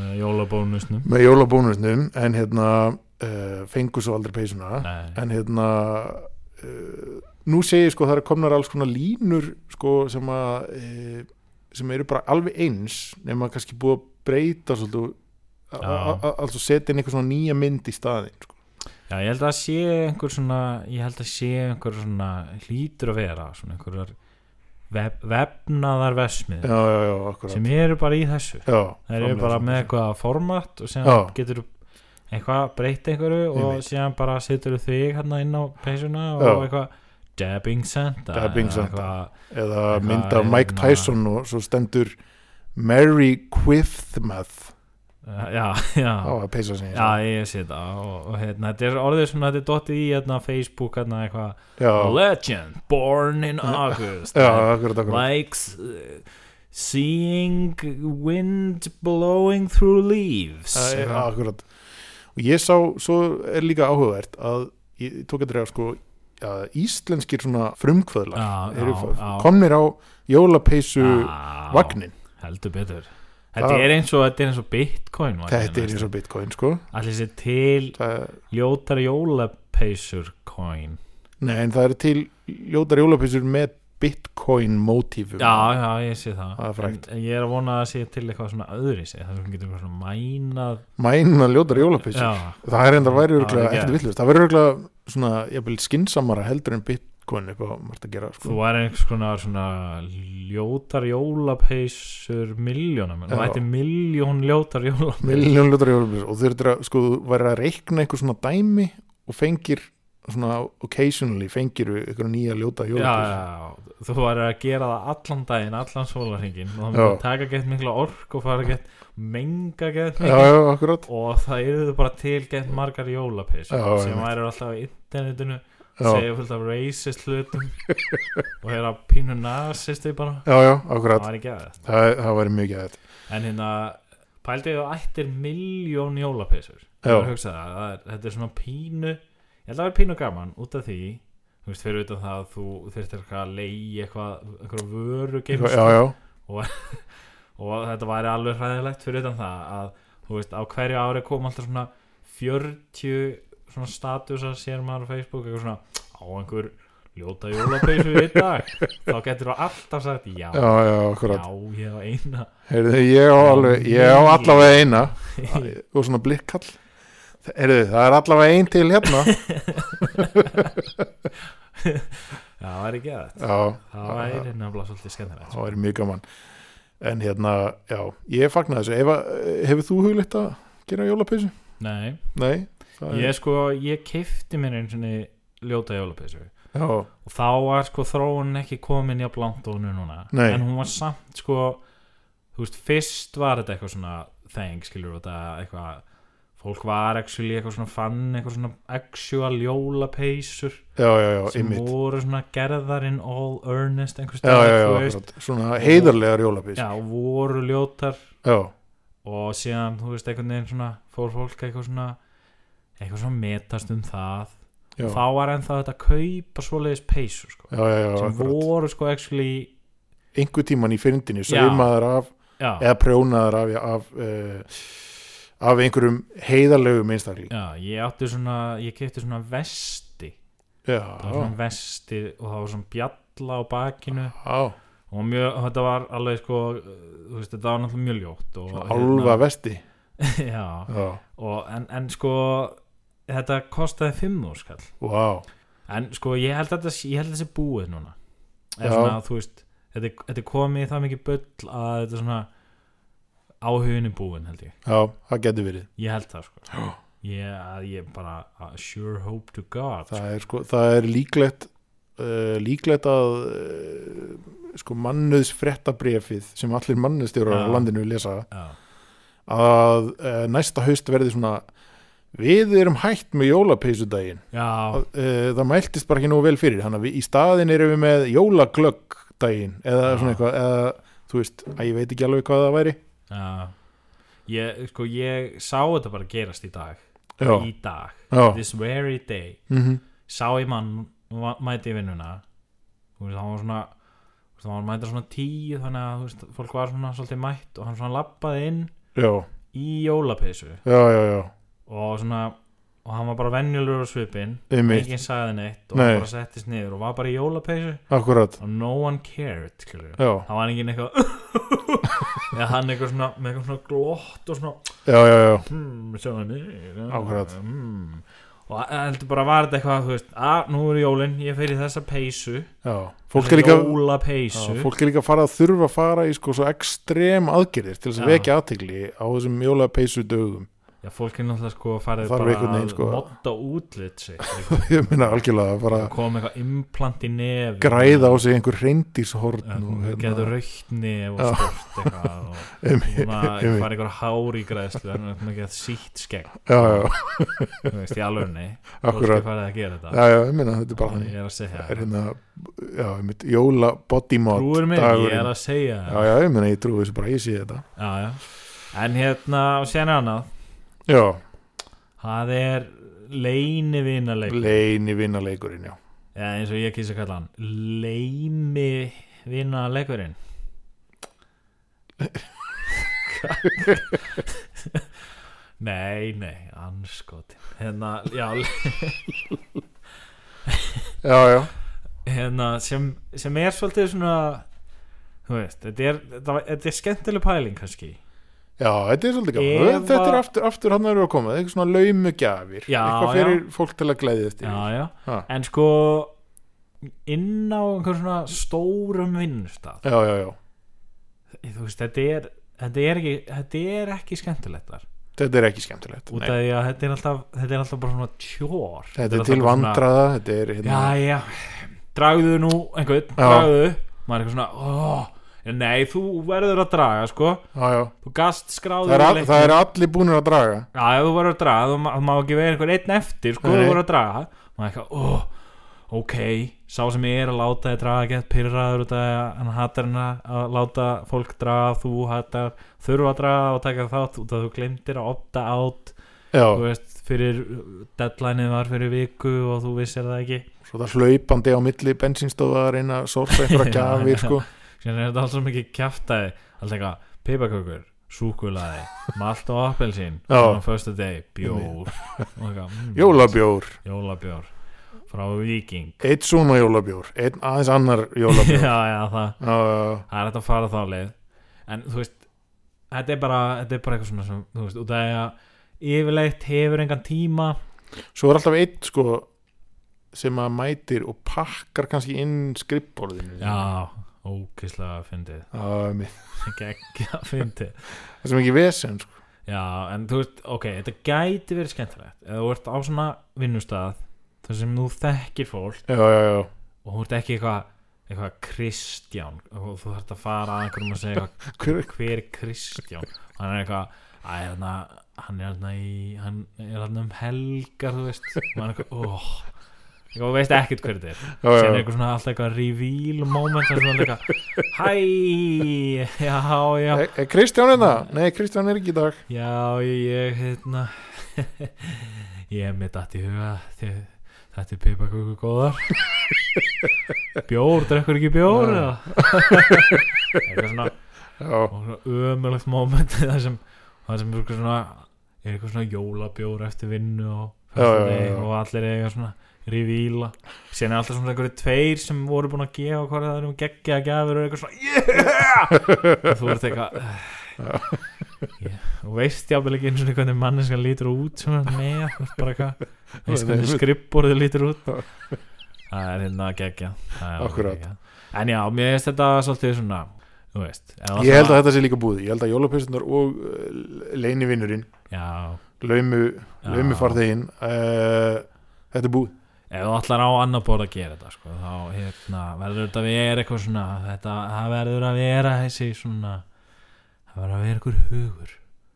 S1: með jólabónusnum
S5: með jólabónusnum en hérna uh, fengu svo aldrei peysuna
S1: nei,
S5: en hérna uh, nú segir sko það er komnar alls konar línur sko sem að uh, sem eru bara alveg eins nema kannski búið að breyta svolítið a-
S1: Já.
S5: a- a- alveg setja inn eitthvað svona nýja mynd í staðin sko.
S1: já, ég held að sé einhver svona, ég held að sé einhver svona hlýtur að vera svona einhverjar vef, vefnaðar vesmið
S5: já, já, já, akkurat
S1: sem eru bara í þessu
S5: já,
S1: það eru
S5: framlega
S1: bara
S5: svona.
S1: með eitthvað format og síðan
S5: Já.
S1: getur eitthvað breytt einhverju og
S5: Einmitt.
S1: síðan bara setur þú þig hérna inn á peysuna og
S5: Já.
S1: eitthvað dabbing santa
S5: Dabbing
S1: eða
S5: Santa.
S1: eitthvað-
S5: eða
S1: eitthvað
S5: mynd af Mike
S1: hérna-
S5: Tyson og svo stendur Mary Quithmouth
S1: Uh, já, já
S5: á að peysa sig
S1: Já, ég sé þetta og, og hérna, þetta er orðið svona þetta er dottið í hérna, Facebook hérna, eitthvað
S5: já,
S1: Legend, born in August
S5: já, akkurat, akkurat
S1: Likes uh, seeing wind blowing through leaves
S5: Já, já,
S1: Eitthvað.
S5: akkurat og ég sá, svo er líka áhugavert að ég tók að drega sko að íslenskir svona
S1: Já,
S5: frumkvöðlar eru
S1: já,
S5: f-
S1: já.
S5: komnir á jólapeysu
S1: Já,
S5: vagnin,
S1: Heldur betur Þetta
S5: Það-
S1: er eins og, þetta er eins og Bitcoin
S5: þetta er eins og bitcoin sko
S1: Allir sér til
S5: það,
S1: ljótar jólapeysur coin
S5: nei, en það eru til ljótar jólapeysur með bitcoin mótífum
S1: Já, já, ég sé það,
S5: Mm. Það er
S1: en,
S5: frægt.
S1: en ég er að vona að sé til eitthvað svona öðri sig Það sem getur eitthvað svona mænað
S5: mæna ljótar jólapeysur
S1: Já,
S5: það er enda væri
S1: Já,
S5: örgulega
S1: ekki.
S5: ekkert villust það væri örgulega svona, jafnvel skinsamara heldur en bitcoin upp á margt að gera
S1: Þú
S5: sko.
S1: er einhvers konar svona ljótar jólapeysur miljónum,
S5: Já.
S1: það ætti miljón ljótar jólapeysur
S5: miljón ljótar jólapeysur og þú þurftir að, sko, þú væri að reikna einhver svona dæmi og fengir svona occasionally fengir einhver nýja ljóta
S1: Já, já,
S5: jólapeysur
S1: já, þú er að gera það allan daginn, allan sólarhingin og það
S5: Já.
S1: myndi taka gett mikla ork og fara gett menga gett
S5: já, já, akkurat
S1: og það eru bara til gett margar jólapeysur
S5: Já,
S1: sem
S5: einmitt.
S1: væri alltaf á internetinu
S5: já,
S1: segja fullt af racist hlutum og þeirra pínu nazisti bara
S5: já, já,
S1: það
S5: akkurat
S1: var ekki aðeins
S5: það, það væri mjög gæðið
S1: en hérna pældi ég að ættir miljón jólapeysur
S5: Já.
S1: það, það er, þetta er svona pínu ég held að það er pínu gaman út af því þú veist fyrir utan það að þú þurftir eitthvað að leigi eitthvað, eitthvað vöru
S5: já, já, já,
S1: og þetta væri alveg hræðilegt fyrir utan það að þú veist á hverju ári kom alltaf svona 40 svona statusa sér maður á Facebook eitthvað svona á einhver ljóta jólapeysu í dag þá getur þú alltaf sagt já
S5: já, já, akkurat
S1: já, ég á eina
S5: Heyrðu, ég á alveg, ég á allavega eina og svona blikkall Heyrðu, það er allavega ein til hérna
S1: já, það er ekki að þetta
S5: já,
S1: það væri nefnilega svolítið skemmtilegt
S5: það væri mjög gaman en hérna, já, ég fagna þessu Ef að, hefur þú huglitt að gera jólapeysu?
S1: nei,
S5: Nei, það er-
S1: ég sko ég keipti mér einu sinni ljóta jólapeysu
S5: já,
S1: og þá var sko þróun ekki komin jafn langt og hún er núna
S5: Nei.
S1: en hún var samt sko þú veist, fyrst var þetta eitthvað svona þeng, skilur þetta eitthvað fólk var actually eitthvað svona fann eitthvað svona actual jólapeysur
S5: já, já, já,
S1: sem
S5: einmitt
S1: voru svona gerðar in all earnest einhvers
S5: já, já, já,
S1: þú veist.
S5: akkurat, svona heiðarlegar jólapís
S1: já,
S5: já,
S1: voru ljótar
S5: já,
S1: og síðan, þú veist, einhvern veginn svona fór fólk eitthvað svona eitthvað svona metast um það
S5: já,
S1: þá var ennþá þetta að kaupa svoleiðis peysur sko,
S5: já, já, já
S1: sem
S5: akkurat
S1: voru sko actually
S5: einhver tíman í fyrndinni,
S1: Já.
S5: saumaður af
S1: já,
S5: eða prjónaður af af, uh, af einhverjum heiðarlegum einstakling
S1: já, ég átti svona ég kefti svona vesti
S5: já,
S1: það var svona vesti og það var svona bjalla á bakinu
S5: já,
S1: og mjög, og þetta var alveg sko uh, þú veist, þetta var náttúrulega mjög ljótt og,
S5: álfa vesti
S1: hérna, já,
S5: já,
S1: og en, en sko þetta kostaði fimm úr skall
S5: vá,
S1: en sko ég held að þetta sé- ég held að þetta sé búið núna eða
S5: Já.
S1: svona þú veist þetta, er- þetta er komið það mikið bull að þetta er svona áhugin er búin held ég
S5: já, það getur verið
S1: ég held það sko ég, að ég bara að sure hope to god
S5: það er, sko, það er líklegt uh, líklegt að uh, sko mannöðs frettabrefið sem allir mannöðstjórar
S1: Já.
S5: á landinu lesa
S1: Já.
S5: að uh, næsta haust verði svona við erum hætt með jólapeysudaginn
S1: já,
S5: uh, það mæltist bara ekki nógu vel fyrir þannig að við, í staðin erum við með jólaglögg daginn eða
S1: Já.
S5: svona eitthvað eða þú veist, að ég veit ekki alveg hvað það væri
S1: Já Ég, sko, ég sá þetta bara gerast í dag
S5: já,
S1: Í dag
S5: já,
S1: This very day
S5: mm
S1: Sá ég mann va- mæti í vinnuna Þú veist, hann var svona þú veist, Hann var mæta svona tíu Þannig að þú veist, fólk var svona svolítið mætt Og hann svona labbaði inn
S5: já,
S1: í jólapeysu
S5: já, já, já
S1: Og svona Og hann var bara venjulegur á svipin
S5: einmitt,
S1: Enginn sagði neitt Og
S5: Nei.
S1: hann bara settist niður og var bara í jólapeysu
S5: akkurat
S1: Og no one cared, skilur
S5: já,
S1: Það var enginn eitthvað Eða hann eitthvað svona, með eitthvað svona glott og svona
S5: já, já, já,
S1: hmm, sjáðu niður já,
S5: Akkurat.
S1: hmm. og að- heldur bara var þetta eitthvað þú veist, að nú eru jólin, ég fer í þessa peysu
S5: já. fólk er líka
S1: jóla
S5: Já,
S1: peysu
S5: fólk er líka að fara að þurfa að fara í sko svo ekstrem aðgerðir til þess að
S1: Já.
S5: vekja aðtegli á þessum jólapeysudögum
S1: Já, fólk er náttúrulega sko farið
S5: Þarf
S1: bara
S5: einhvern
S1: að
S5: veginn, sko.
S1: modda útlit sig einhvern
S5: ég meina algjörlega bara
S1: veginn. koma með eitthvað implant í nef
S5: græða á sig einhver reyndíshorn og
S1: og
S5: hérna,
S1: getur raukt nef og
S5: Já.
S1: stort eitthvað og
S5: einmitt,
S1: svona
S5: einmitt.
S1: fara einhver hár í græðslu þannig að maður getur sítt skegg
S5: já, já,
S1: þú veist, í alvörni fólk er
S5: akkurat
S1: farið að gera
S5: já,
S1: þetta
S5: já, ég meina þetta er bara þannig
S1: ég er að segja
S5: það er hérna, já, einmitt, jóla body mod
S1: trúir mig, ég er
S5: dagurinn.
S1: að segja
S5: já, já, ég meina, ég trúi þessu bara, ég sé þetta
S1: já, já. en hérna, og sérna annað
S5: já,
S1: það er leinivinarleik
S5: leini vinnaleikurinn, já
S1: eða eins og ég kýsa að kalla hann leimivinarleikurinn nei, nei, anskotin hérna, já,
S5: já, já,
S1: hérna, sem, sem er svolítið svona þú veist, þetta er, þetta, þetta er skemmtileg pæling kannski
S5: já, þetta er svolítið gaman
S1: Ef
S5: þetta er
S1: að-
S5: aftur, aftur hann eru að koma, eitthvað svona laumugjafir
S1: Já,
S5: eitthvað fyrir fólk til að
S1: já,
S5: glæðist yfir.
S1: já.
S5: Ha.
S1: en sko inn á einhver svona stórum vinnustaf
S5: já, já, já,
S1: þú veist, þetta er, þetta er ekki þetta er ekki skemmtilegt þar
S5: þetta er ekki skemmtilegt
S1: út
S5: Nei.
S1: af því að þetta er alltaf þetta er alltaf bara svona tjór
S5: þetta er
S1: alltaf
S5: til
S1: bara svona-
S5: vandraða þetta er hérna,
S1: já, já, dragðu nú einhvern, dragðu maður er eitthvað svona, ó, nei, þú verður að draga, sko,
S5: já, já
S1: þú gast skráður
S5: það er,
S1: í
S5: all,
S1: leiknum.
S5: það er allir búinir að draga
S1: Já, ef þú voru að draga, þú má, þú má ekki vera einhver einn eftir, sko,
S5: Nei.
S1: þú voru að draga maður eitthvað, ó, ok sá sem ég er að láta þið draga gett pyrraður út af því að hann hattar hann að láta fólk draga, þú hattar þurfa að draga og taka þátt út af þú glemdir að opta átt þú
S5: já,
S1: veist, fyrir uh, deadlineið var fyrir viku og þú vissir það ekki
S5: svo það hlaupandi á milli bensínstofa að reyna að sorfa einhverja
S1: Já,
S5: gafir
S1: já.
S5: sko.
S1: síðan er þetta alls mikið kjaftaði alltaf eitthvað, pipakökur, súkulaði malt og appelsín
S5: Já.
S1: og fyrstu deg, bjór og eitthvað, mm,
S5: jólabjór,
S1: jólabjór frá Viking
S5: eitt svona jólabjór einn aðeins annar jólabjór já,
S1: já, já, það,
S5: já,
S1: það er hægt að fara þá leið en þú veist þetta er bara, þetta er bara eitthvað svona sem, þú veist, út af því að yfirleitt hefur engan tíma
S5: já. svo er alltaf eitt sko sem að mætir og pakkar kannski inn skrippborðinu
S1: já, ókislega fyndið
S5: Já, einmitt.
S1: geggja fyndið
S5: það sem ekki vesen sko.
S1: já, en þú veist, ok, þetta gæti verið skemmtilegt eða þú ert á svona vinnustað þar sem þú þekkir fólk
S5: já, já, já,
S1: og þú ert ekki eitthvað eitthvað Kristján og þú þarft að fara að einhverjum að segja eitthvað
S5: Hver,
S1: hver er Kristján hann er eitthvað æ, þarna, hann er hann í hann er hann um helgar þú veist og hann er eitthvað oh. eitthvað þú veist ekkert hver þetta er sem
S5: já, já,
S1: er
S5: já.
S1: eitthvað svona alltaf eitthvað reveal moment þar sem hann er eitthvað hæ já já
S5: Er, er Kristján er það? Nei, Kristján er ekki í dag
S1: já ég hérna ég er með datt í huga þið- þetta er pipaköku góðar bjór, drekkur ekki bjór eða? eitthvað svona
S5: Já,
S1: og svona ömulegt moment það sem, það sem er eitthvað svona er eitthvað svona jólabjór eftir vinnu og,
S5: Já, já, já, já.
S1: föstudegi og allir er eitthvað svona revíla síðan er alltaf svona einhverju tveir sem voru búin að gefa hvað það er um geggja að gefur og eitthvað svona yeah! og þú ert eitthvað yeah. og veist jáfnvel ekki eins og hvernig manneskan lítur út sem er með þú ert bara eitthvað veist
S5: Nei,
S1: hvernig
S5: einmitt.
S1: skrippborðið lítur út það er hérna geggja Það er alveg
S5: Akkúrat.
S1: geggjað. en já, mér finnst þetta svolítið svona þú veist ef
S5: ég held
S1: svona-
S5: að þetta sé líka búið Ég held að jólapjössunar og uh, leinivinnurinn
S1: Já,
S5: laumu,
S1: Já.
S5: laumu farþegin uh, Þetta er búið
S1: ef þú ætlar á annar borð að gera þetta sko, þá hérna, verður þetta að vera eitthvað svona þetta, það verður að vera þessi svona það verður að vera einhver hugur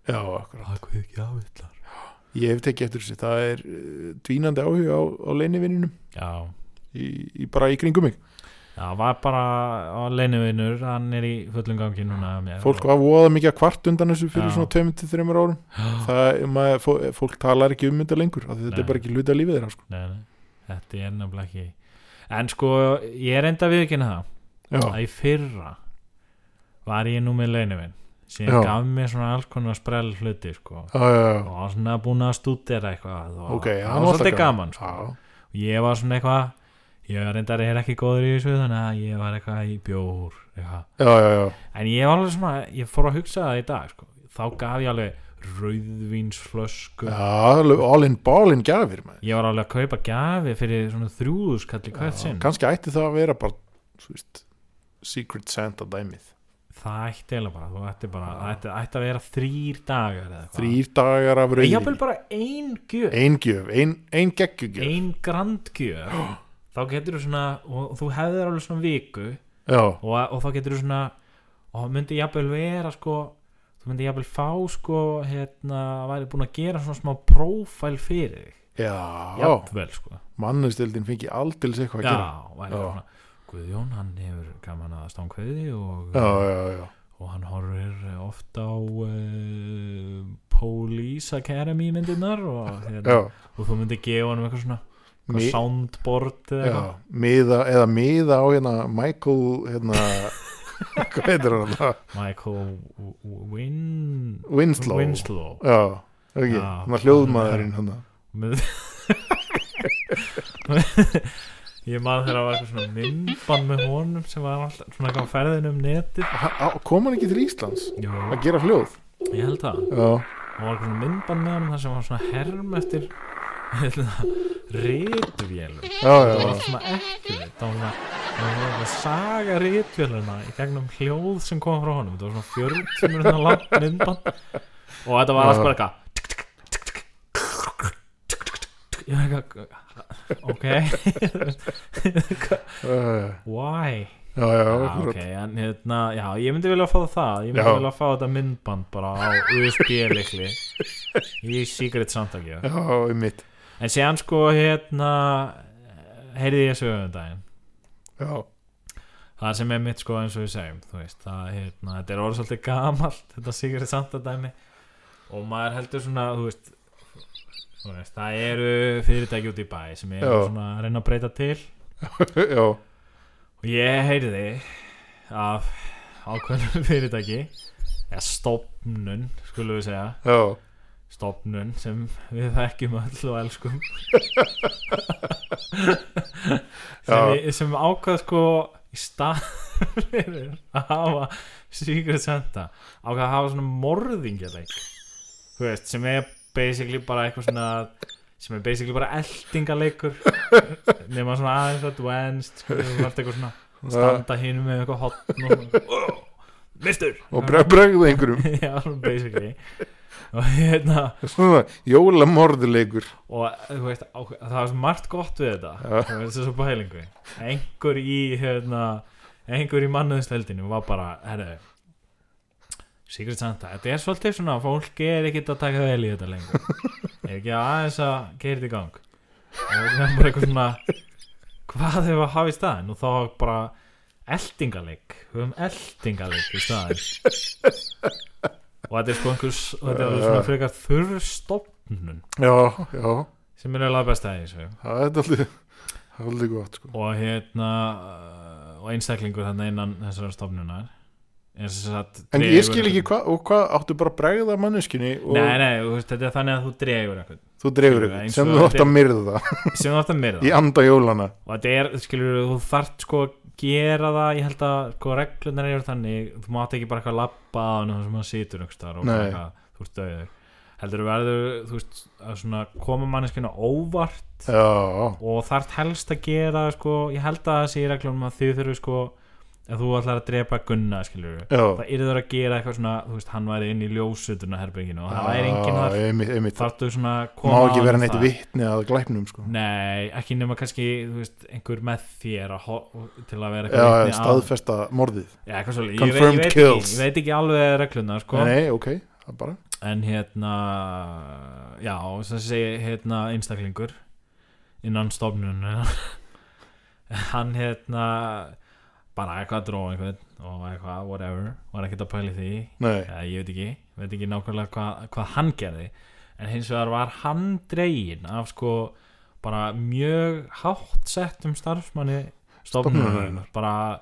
S5: Já, akkurat
S1: að hvað ekki ávillar
S5: Ég hef tekið eftir þessu, það er uh, dvínandi áhuga á, á leinivinninum
S1: Já,
S5: í, í bara í kringum mig
S1: það var bara á leinuvinur, hann er í fullum gangi núna hjá mér
S5: Fólk var voða mikið að kvart undan þessu fyrir
S1: Já.
S5: svona 2-3 árum
S1: Já,
S5: það, maður, fó- eh, fólk talar ekki um þetta lengur af því þetta
S1: Nei.
S5: er bara ekki hluti að lífið þeirra sko.
S1: nei, nei, Þetta er nefnilega ekki En sko, ég er enda við ekki það
S5: Já,
S1: að í fyrra var ég nú með leinuvin sem
S5: Já.
S1: gaf mér svona alls konar sprell hluti sko.
S5: já, já, já.
S1: og var svona búin að stúdera eitthvað og
S5: ok, já,
S1: það var svolítið gaman sko.
S5: Já,
S1: og ég var svona eitthvað ég var reyndar er ekki góður í þessu þannig að ég var eitthvað í bjór eitthvað.
S5: já, já, já,
S1: en ég var alveg svona, ég fór að hugsa það í dag sko. þá gaf ég alveg rauðvínsflösku
S5: já alveg all in ball in gafir maður.
S1: ég var alveg að kaupa gafi fyrir svona þrjúðuskalli hvert sinn
S5: kannski ætti það að vera bara, svo veist Secret Santa dæmið
S1: það ætti eiginlega bara, þú ætti bara það ætti, ætti að vera þrýr dagar eða eitthvað.
S5: þrýr dagar af
S1: Ég jafnvel
S5: rauði
S1: bara ein gjöf
S5: ein gjöf, ein, ein geggjugjöf
S1: ein grandgjöf þá getur þú svona og þú hefðir alveg svona viku
S5: já,
S1: og, og þá getur þú svona og myndi jafnvel vera sko þú myndi jafnvel fá sko hérna, væri búin að gera svona smá prófæl fyrir þig,
S5: já,
S1: jafnvel sko
S5: mannustildin fengi aldils eitthvað að
S1: já,
S5: gera
S1: væri
S5: Já.
S1: svona Guðjón, hann hefur gaman að stánkveði og, eh,
S5: já, já, já,
S1: og hann horfir eh, oft á uh, Police Academy myndirnar og,
S5: já,
S1: hérna, og þú myndi gefa hann eitthvað svona eitthvað
S5: Mi-
S1: soundboard eða
S5: já.
S1: eitthvað
S5: Miða, eða miða á hérna Michael hérna, hvað heitir hann það
S1: Michael W- W- Win...
S5: Winslow,
S1: Winslow.
S5: já, ekki,
S1: Já.
S5: hann að hljóðmaðurinn hann
S1: Með... ég man þegar það var eitthvað svona myndbann með honum sem var alltaf svona eitthvað á ferðinu um netið
S5: að- kom hann ekki til Íslands
S1: Jú,
S5: að gera hljóð
S1: ég held það
S5: já,
S1: það var eitthvað svona myndbann með honum þar sem var svona herm eftir rítuvélum
S5: já, já,
S1: það var
S5: já,
S1: allt svona ekki það var svona það var eitthvað saga rítvéluna í gegnum hljóð sem kom frá honum þetta var svona 40 minútur langt myndbann og þetta var allt bara eitthvað Ég var eitthvað ok
S5: já,
S1: why
S5: já, já,
S1: Já,
S5: akkurat.
S1: ok, en hérna, já, ég myndi vilja fá það ég myndi
S5: Já.
S1: vilja fá þetta myndband bara á USB-likli í Secret Santa
S5: já, mitt
S1: En séðan sko hérna heyrði ég sögum daginn
S5: já,
S1: það sem er mitt sko eins og við segjum þú veist, það, hérna, þetta er orðið svolítið gamalt þetta Sigurði Santa dæmi og maður heldur svona þú veist, þú veist, það eru fyrirtæki út í bæ sem eru
S5: Já.
S1: svona að reyna að breyta til
S5: já,
S1: og ég heyrði af ákveðnum fyrirtæki eða stopnun, skulum við segja
S5: já
S1: stopnun sem við þekkjum öll og elskum sem,
S5: Já.
S1: ég, sem ákvað sko í stað fyrir að hafa Secret Santa ákvað að hafa svona morðingjaleik þú veist, sem er basically bara eitthvað svona sem er basically bara eldingaleikur nema svona aðeins advanced sko, og allt eitthvað svona standa hinn með eitthvað hotn og svona, mistur
S5: og breg, bregðu einhverjum
S1: já, svona basically og hérna
S5: svona jólamorðuleikur
S1: og þú veist, á, það var svo margt gott við þetta það var þessu pælingu einhver í hérna, einhver í mannuðstöldinu var bara herru Secret Santa, þetta er svolítið svona fólk er ekkert að taka vel í þetta lengur er ekki aðeins að gera þetta í gang og það var bara eitthvað svona hvað hefur að hafa í staðin og þá var bara eldingaleik við höfum eldingaleik í staðin og þetta er sko einhvers og þetta er svona frekar þurr stofnun
S5: já, já,
S1: sem er alveg besta í þessu
S5: það er aldrei það er aldrei gott sko
S1: og hérna uh, og einstaklingur þarna innan þessar stofnunar er sem sagt
S5: en
S1: dregur-
S5: ég skil ekki hvað, og hvað áttu bara að bregða manneskinni og
S1: Nei, nei, þú veist, þetta er þannig að þú dregur eitthvað
S5: þú dregur
S1: Eins
S5: eitthvað
S1: og
S5: sem þú átt
S1: þetta
S5: að myrða
S1: sem þú átt að myrða
S5: í anda jólana
S1: og þetta er, skilur, þú þarft sko að gera það, ég held að sko reglunar eru þannig, þú mátt ekki bara eitthvað labba á hann sem hann situr einhverstaðar og bara
S5: Nei.
S1: eitthvað, þú ert döður heldur þú verður, þú veist, að svona koma manneskina óvart
S5: já,
S1: og þarft helst að gera sko, ég held að það sé í reglunum að þið þurfi sko, ef þú ætlar að drepa Gunna skilur
S5: já
S1: það yrður að gera eitthvað svona þú veist, hann væri inn í ljósutuna herbygginu og það væri enginn þar,
S5: einmitt, einmitt.
S1: þarftu svona að
S5: má
S1: koma
S5: ekki
S1: á
S5: vera
S1: hann
S5: neitt
S1: það.
S5: vitni að glæpnum sko
S1: nei, ekki nema kannski, þú veist, einhver með þér að ho- til að vera
S5: já, já,
S1: vitni að-
S5: staðfesta morðið
S1: já, eitthvað svolítið, ég, veit-
S5: Confirmed
S1: ég, veit ekki,
S5: kills.
S1: ég veit ekki alveg regluna sko.
S5: nei, ok, það er bara
S1: en hérna já, sem sé hérna einstaklingur innan stofnun hann hérna bara eitthvað dró einhvern og eitthvað, whatever, var ekkert að pæli því
S5: nei,
S1: eða ég veit ekki, veit ekki nákvæmlega hvað, hvað hann gerði en hins vegar var hann dregin af sko bara mjög hátt settum starfsmanni stofnunarinnar,
S5: Stofnunarinnar.
S1: bara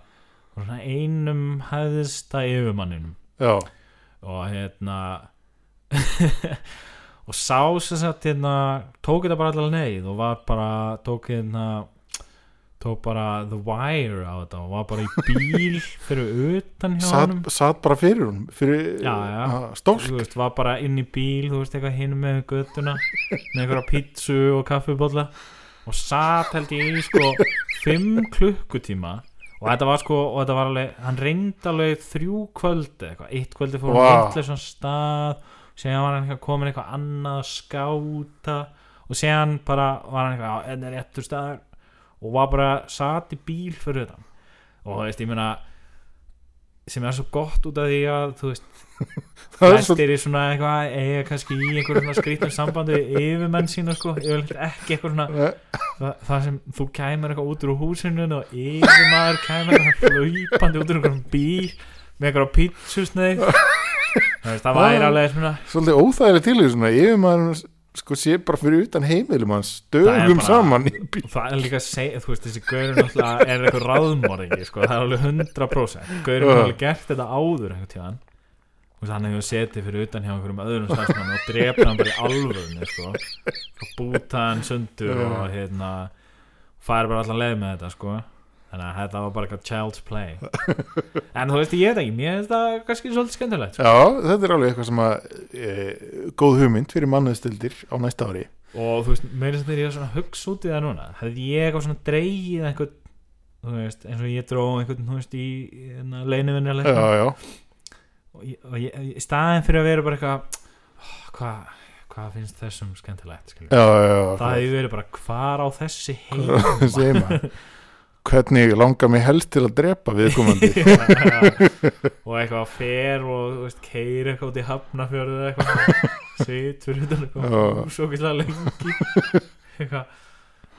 S1: svona einum hæðista yfirmanninum
S5: já,
S1: og hérna og sá sem sagt hérna tók þetta bara allar leið og var bara tók hérna tók bara The Wire á þetta og var bara í bíl fyrir utan hjá
S5: satt,
S1: honum
S5: satt bara fyrir hún fyrir
S1: Já, já.
S5: ah, stólk
S1: þú veist, var bara inn í bíl þú veist, eitthvað hinn með göttuna með einhverja pítsu og kaffibólla og satt held ég í sko 5 klukkutíma og þetta var sko, og þetta var alveg hann reyndi alveg þrjú kvöldi eitthvað, eitt kvöldi fór
S5: Vá.
S1: hann vittlisum stað síðan var hann eitthvað komin eitthvað annað að skáta og síðan bara var hann eitthvað á enn er réttur staðar og var bara sat í bíl fyrir utan og þú veist, ég meina sem er svo gott út af því að þú veist,
S5: það er svo
S1: flestir í svona eitthvað eiga kannski í einhverjum svona skrýtnum sambandi við yfirmenn sína sko, yfirleitt ekki eitthvað svona
S5: Nei.
S1: það, það sem þú kæmur eitthvað út úr húsinu og yfirmaður kæmur eitthvað hlaupandi út úr einhverjum bíl með eitthvað pítsusneið það væri alveg svona
S5: svolítið óþægileg til því svona ef maður sko sé bara fyrir utan heimilum hans
S1: er
S5: dögum
S1: bara-
S5: saman í bí-
S1: og það er líka að segja, þú veist, þessi gaurur náttúrulega er eitthvað ráðmorðingi, sko, það er alveg 100% gaurur
S5: Já.
S1: hefur alveg gert þetta áður einhvern tíðan, þú veist, hann hefur setið fyrir utan hjá einhverjum öðrum starfsmann og drefna hann bara í alvöðinu, sko og búta hann sundur
S5: Já.
S1: og hérna, færi bara allan leið með þetta, sko þannig að þetta var bara eitthvað child's play en þú veist, ég veit ekki, mér finnst það kannski svolítið skemmtilegt,
S5: já, þetta er alveg eitthvað sem að e, góð hugmynd fyrir mannöðstildir á næsta ári
S1: og þú veist, meira sem þegar ég er svona að hugsa út í það núna hefði ég eitthvað svona dreigið einhvern þú veist, eins og ég dró einhvern þú veist, í hérna,
S5: já,
S1: leinuvinnilega
S5: já,
S1: og, ég, og ég, í staðin fyrir að vera bara eitthvað "Ah, hvað hva finnst þessum skemmtilegt skilur.
S5: já, já, já
S1: það hefði verið bara hvar á þessi heim
S5: segir maður hvernig langar mig helst til að drepa viðkomandi
S1: og eitthvað fer og þú veist, keir eitthvað út í hafnafjörðu eða eitthvað sitt fyrir utan um
S5: Já.
S1: eitthvað úsókislega lengi eitthvað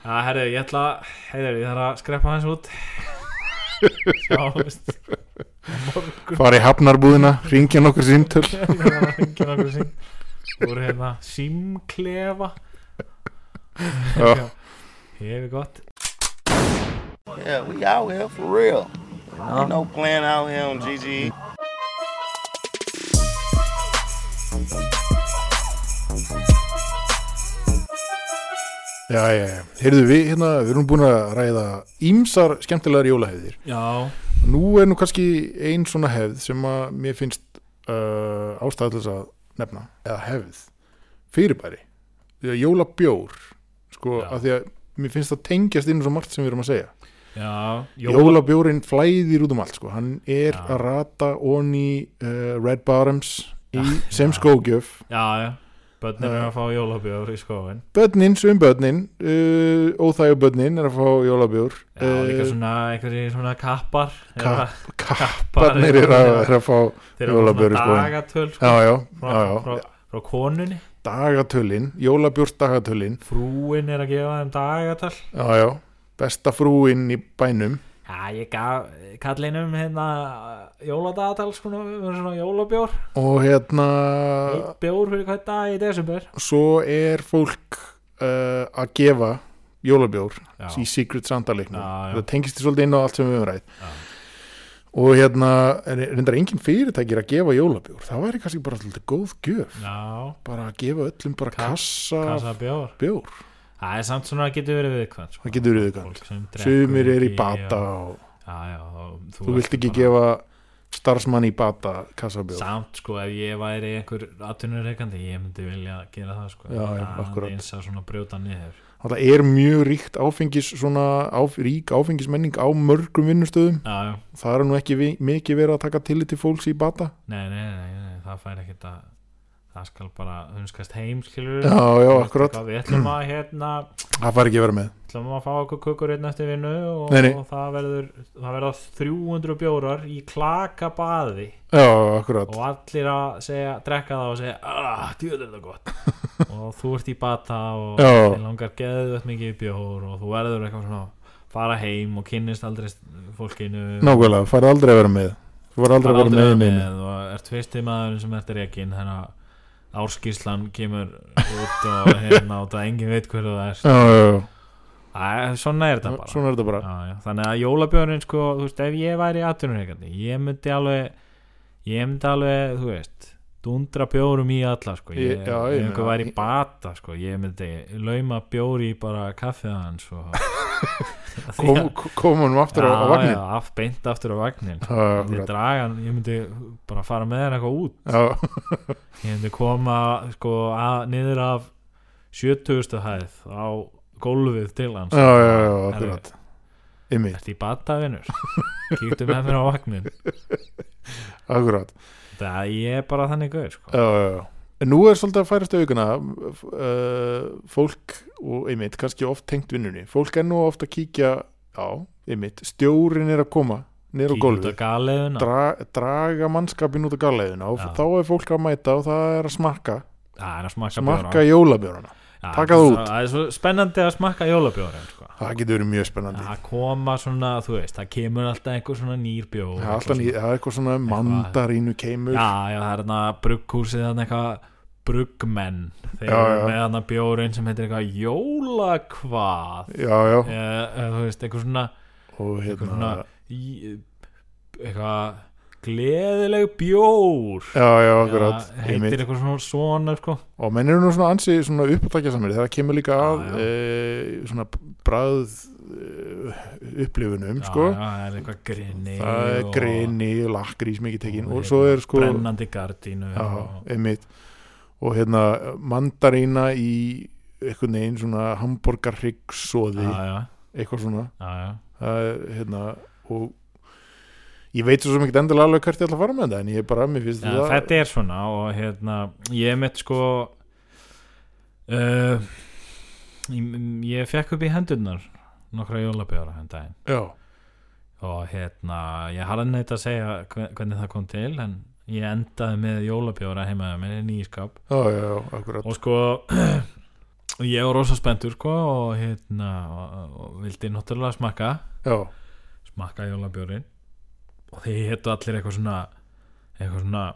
S1: Já, herðu, ég ætla, heiður, ég þarf að skreppa hans út Sjáumst á morgun
S5: fara í hafnarbúðina, ringja nokkur síntöl
S1: Ég þarf að hengja nokkur sín Úr hérna, símklefa
S5: Já.
S1: Hefur gott
S2: Yeah, we out here for real. Ain't no playing out here on E. GGE.
S5: já, já, já, heyrðu við hérna við erum búin að ræða ímsar skemmtilegar jólahefðir
S1: Já,
S5: nú er nú kannski ein svona hefð sem að mér finnst uh, ástæða til þess að nefna eða hefð, fyrirbæri því að jólabjór sko,
S1: Já.
S5: af því að mér finnst það tengjast inn í svo margt sem við erum að segja
S1: já
S5: jólabjórin flæðir út um allt sko. hann er
S1: Já.
S5: að rata onni uh, Red Bottoms í, sem skógjöf
S1: Já, já Börnir eru að fá jólabjóður í skóin
S5: börnin, sum börnin uh, óþægjum börnin er að fá jólabjór Uh,
S1: Já, líka svona einhverjir svona kappar
S5: Kapp-
S1: Eða-
S5: kapparnir er að, er að fá
S1: Þeir eru svona
S5: jólabjór í skóinn.
S1: dagatöl sko,
S5: já, já,
S1: frá,
S5: já, já,
S1: Frá, frá konunni
S5: dagatölin, jólabjórs dagatölin
S1: Frúin er að gefa þeim dagatöl
S5: já, já, besta frúinn í bænum
S1: Já, ég gaf kallinum hérna jóladagatöl sko, við erum svona jólabjór
S5: og hérna
S1: Eitt bjór fyrir hvað dag í desember
S5: svo er fólk uh, að gefa jólabjór
S1: Já,
S5: í Secret Santa leiknum
S1: Já, já.
S5: það tengist því svolítið inn á allt sem við höfum ræð
S1: Já.
S5: og hérna en reyndar engin fyrirtækir að gefa jólabjór það væri kannski bara svolítið góð gjöf
S1: já
S5: bara að gefa öllum bara
S1: Ka-
S5: kassa,
S1: kassa bjór
S5: bjór
S1: Það er samt svona að getur verið viðkvæmt sko.
S5: það getur verið viðkvæmt.
S1: Fólk sem drekkur
S5: sumir er í
S1: ekki
S5: bata
S1: og-
S5: og
S1: Já, já og
S5: þú vilt
S1: ert
S5: ekki
S1: bara-
S5: gefa starfsmann í bata kassabjór
S1: samt sko ef ég væri einhver atvinnureikandi ég myndi vilja gera það sko
S5: Já, já,
S1: Það er
S5: akkúrat.
S1: eins að svona brjóta niður
S5: það er mjög ríkt áfengis svona áf, rík áfengismenning á mörgum vinnustöðum
S1: já, já,
S5: það er nú ekki vi, mikið verið að taka tillit til fólks í bata
S1: nei, nei, nei, nei, nei það fær ekkert að það skal bara hunskast heim skilur
S5: já, já, akkurat,
S1: við ætlum að hérna
S5: það fær ekki að vera með
S1: ætlum að fá okkur kukur einn eftir vinnu og,
S5: Nei, nei.
S1: og það verður það verða 300 bjórar í klakabaði
S5: já, akkurat,
S1: og allir að segja, drekka það og segja ah, djöður það gott og þú ert í bata og
S5: Já.
S1: þig langar geðvett mikið í bjór og þú verður eitthvað svona fara heim og kynnist aldrei s- fólkinu
S5: nákvæmlega, fær aldrei að vera með þú fær aldrei að
S1: Þarf
S5: vera með, með.
S1: og ert fyrsti maðurinn sem ert rekin þannig að árskíslan kemur út og hérna og það engin veit hverju það er
S5: Já, já, já,
S1: Æ, svona er þetta bara
S5: svona er þetta bara
S1: já, já. þannig að jólabjörnin sko, þú veist, ef ég væri atvinnureikandi, ég myndi alveg ég myndi alveg, þú veist dundra bjórum í alla sko. ég,
S5: Ég- já, ég
S1: ef einhver
S5: meina-
S1: væri í bata sko. ég myndi lauma bjóri í bara kaffið hans og
S5: Kom- kom- komum honum aftur á, á
S1: já,
S5: vagnin
S1: af, beint aftur á vagnin
S5: já, já,
S1: ég,
S5: akkurat.
S1: dragan, ég myndi bara fara með þér eitthvað út
S5: já,
S1: ég myndi koma sko, að, niður af 70. hæð á gólfið til hans
S5: já, já, já,
S1: Herri,
S5: akkurat einmitt,
S1: Ertu í batavinur? Kíktu með mér á vagnin
S5: akkurat
S1: Það ég er bara þannig gauð sko.
S5: já, já, já. En nú er svolítið að færast aukuna uh, fólk og einmitt, kannski oft tengt vinnunni fólk er nú oft að kíkja á einmitt, stjórin er að koma niður á
S1: Kíkja út
S5: gólfið,
S1: á galiðuna
S5: dra, draga mannskapin út á gallegðuna og
S1: Já.
S5: þá er fólk að mæta og það er að smakka
S1: Það er að smakka
S5: smakka jólabjörana,
S1: Já,
S5: taka það
S1: svo-
S5: út.
S1: Það er svo spennandi að smakka jólabjórin sko.
S5: það getur verið mjög spennandi
S1: Að koma svona, þú veist Það kemur alltaf einhver svona nýr bjór
S5: það er alltaf
S1: eitthvað
S5: ný- það er eitthvað svona mandarínu keimur
S1: Já, já, það er þarna brugghúsið þarna eitthvað bruggmenn þeir
S5: Já,
S1: eru
S5: já.
S1: með þarna bjórinn sem heitir eitthvað jólakvað
S5: já, já,
S1: Eh, eh, þú veist, eitthvað svona,
S5: og
S1: eitthvað, svona
S5: hérna
S1: í- eitthvað gleðileg bjór
S5: já, já, akkurat,
S1: Já, heitir
S5: einmitt
S1: eitthvað svona svona sko.
S5: og menn eru nú svona ansi svona uppátækja samir þegar kemur líka að
S1: Já, já.
S5: e, svona bræð e, upplifunum sko
S1: já, já, það er eitthvað grinni
S5: það er
S1: og-
S5: grini, lakrís mikið tekin og
S1: hérna,
S5: svo er sko
S1: brennandi gardínu
S5: já,
S1: og-
S5: einmitt og hérna mandarína í einhvern veginn svona hamburgarryggsoði
S1: já, já,
S5: eitthvað svona
S1: já, já.
S5: það er hérna og ég veit svo sem ekkert endilega alveg hvert ég ætla að fara með þetta en ég er bara, mér finnst
S1: Já, þetta er svona og hérna, ég mitt sko uh, ég, ég fekk upp í hendurnar nokkra jólabjóra hann daginn
S5: já,
S1: og hérna, ég harði neitt að segja hve- hvernig það kom til en ég endaði með jólabjóra heimaði minni nýskap
S5: já, já, já, akkurat
S1: og sko og ég var rosa spenntur sko og hérna, og, og vildi náttúrulega smakka
S5: já,
S1: smakka jólabjórin og þeir héttu allir eitthvað svona eitthvað svona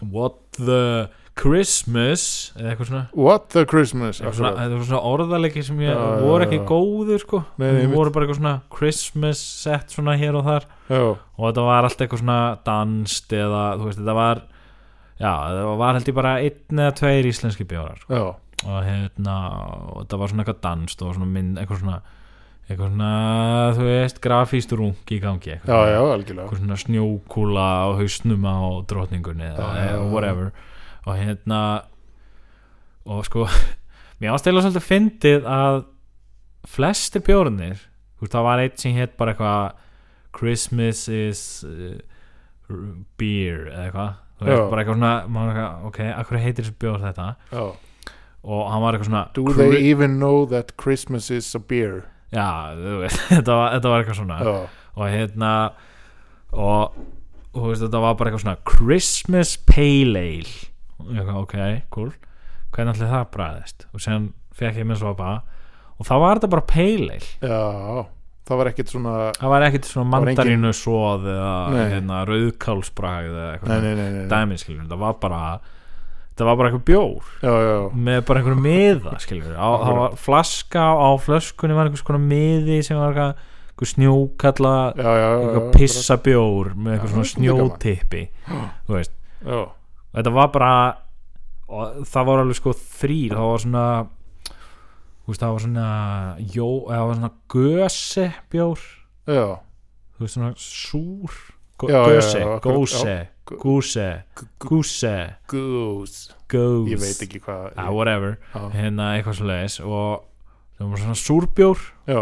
S1: what the Christmas eða eitthvað svona
S5: What the Christmas
S1: eitthvað svona,
S5: akkurat.
S1: þetta var svona orðalegi sem ég
S5: Já, já,
S1: voru ekki
S5: já.
S1: góður sko
S5: Nei, nei,
S1: Þeir
S5: einmitt.
S1: voru bara eitthvað svona Christmas sett svona hér og þar
S5: já,
S1: og þetta var allt eitthvað svona danst eða þú veist þetta var já þetta var held ég bara einn eða tveir íslenski bjórar sko.
S5: já,
S1: og hérna og þetta var svona eitthvað danst og svona mynd eitthvað svona eitthvað svona þú veist grafíst rung í gangi eitthvað
S5: já,
S1: svona-
S5: já, algjörlega
S1: eitthvað svona snjókúla á hausnum á drotningunni eða
S5: Já, já,
S1: eða
S5: já.
S1: whatever og hérna og sko mér ástæðilega svolítið fyndið að flestir bjórnir þú veist það var eitt sem hétt bara eitthvað Christmas is uh, r- beer eða eitthvað Þú veist,
S5: Já.
S1: bara eitthvað svona maður eitthvað, ok, að hverju heitir þessu bjór þetta
S5: já.
S1: og hann var eitthvað svona
S5: Do
S1: Chri-
S5: they even know that Christmas is a beer
S1: já, þú veist, þetta var, þetta var eitthvað svona
S5: Já,
S1: og hérna og og þú veist þetta var bara eitthvað svona Christmas Pale Ale og ég eitthvað ok, cool hvernig allir það bræðist og sen fekk ég minn svo að baða og þá var þetta bara Pale Ale
S5: já, það var ekkert svona
S1: það var ekkert svona
S5: Það var engin-
S1: mandarínu svoð eða
S5: Nei.
S1: hérna, rauðkálsbragð eða eitthvað
S5: Nei,
S1: svona
S5: nei, nei, nei, nei.
S1: dæmi skiljum, það var bara þetta var bara eitthvað bjór
S5: Já, já,
S1: með bara einhverju miða skiljum, á, það var flaska á flöskunni var einhvers konar miði sem var eitthvað, eitthvað snjókalla
S5: já, já, já, já,
S1: eitthvað pissa bjór með eitthvað
S5: Já,
S1: svona
S5: þetta er gaman.
S1: snjótippi þú veist,
S5: Já,
S1: þetta var bara og það var alveg sko þrýr það var svona þú veist, það var svona jó, eða það var svona göse bjór
S5: já,
S1: þú veist svona súr Gó-
S5: Já, já, já,
S1: göse,
S5: akkurat,
S1: góse,
S5: já. Gú-
S1: gúse gúse,
S5: goose
S1: góse
S5: Ég veit ekki hvað
S1: ah, whatever,
S5: Já.
S1: hérna eitthvað svo leiðis og það var svona súrbjór
S5: Já,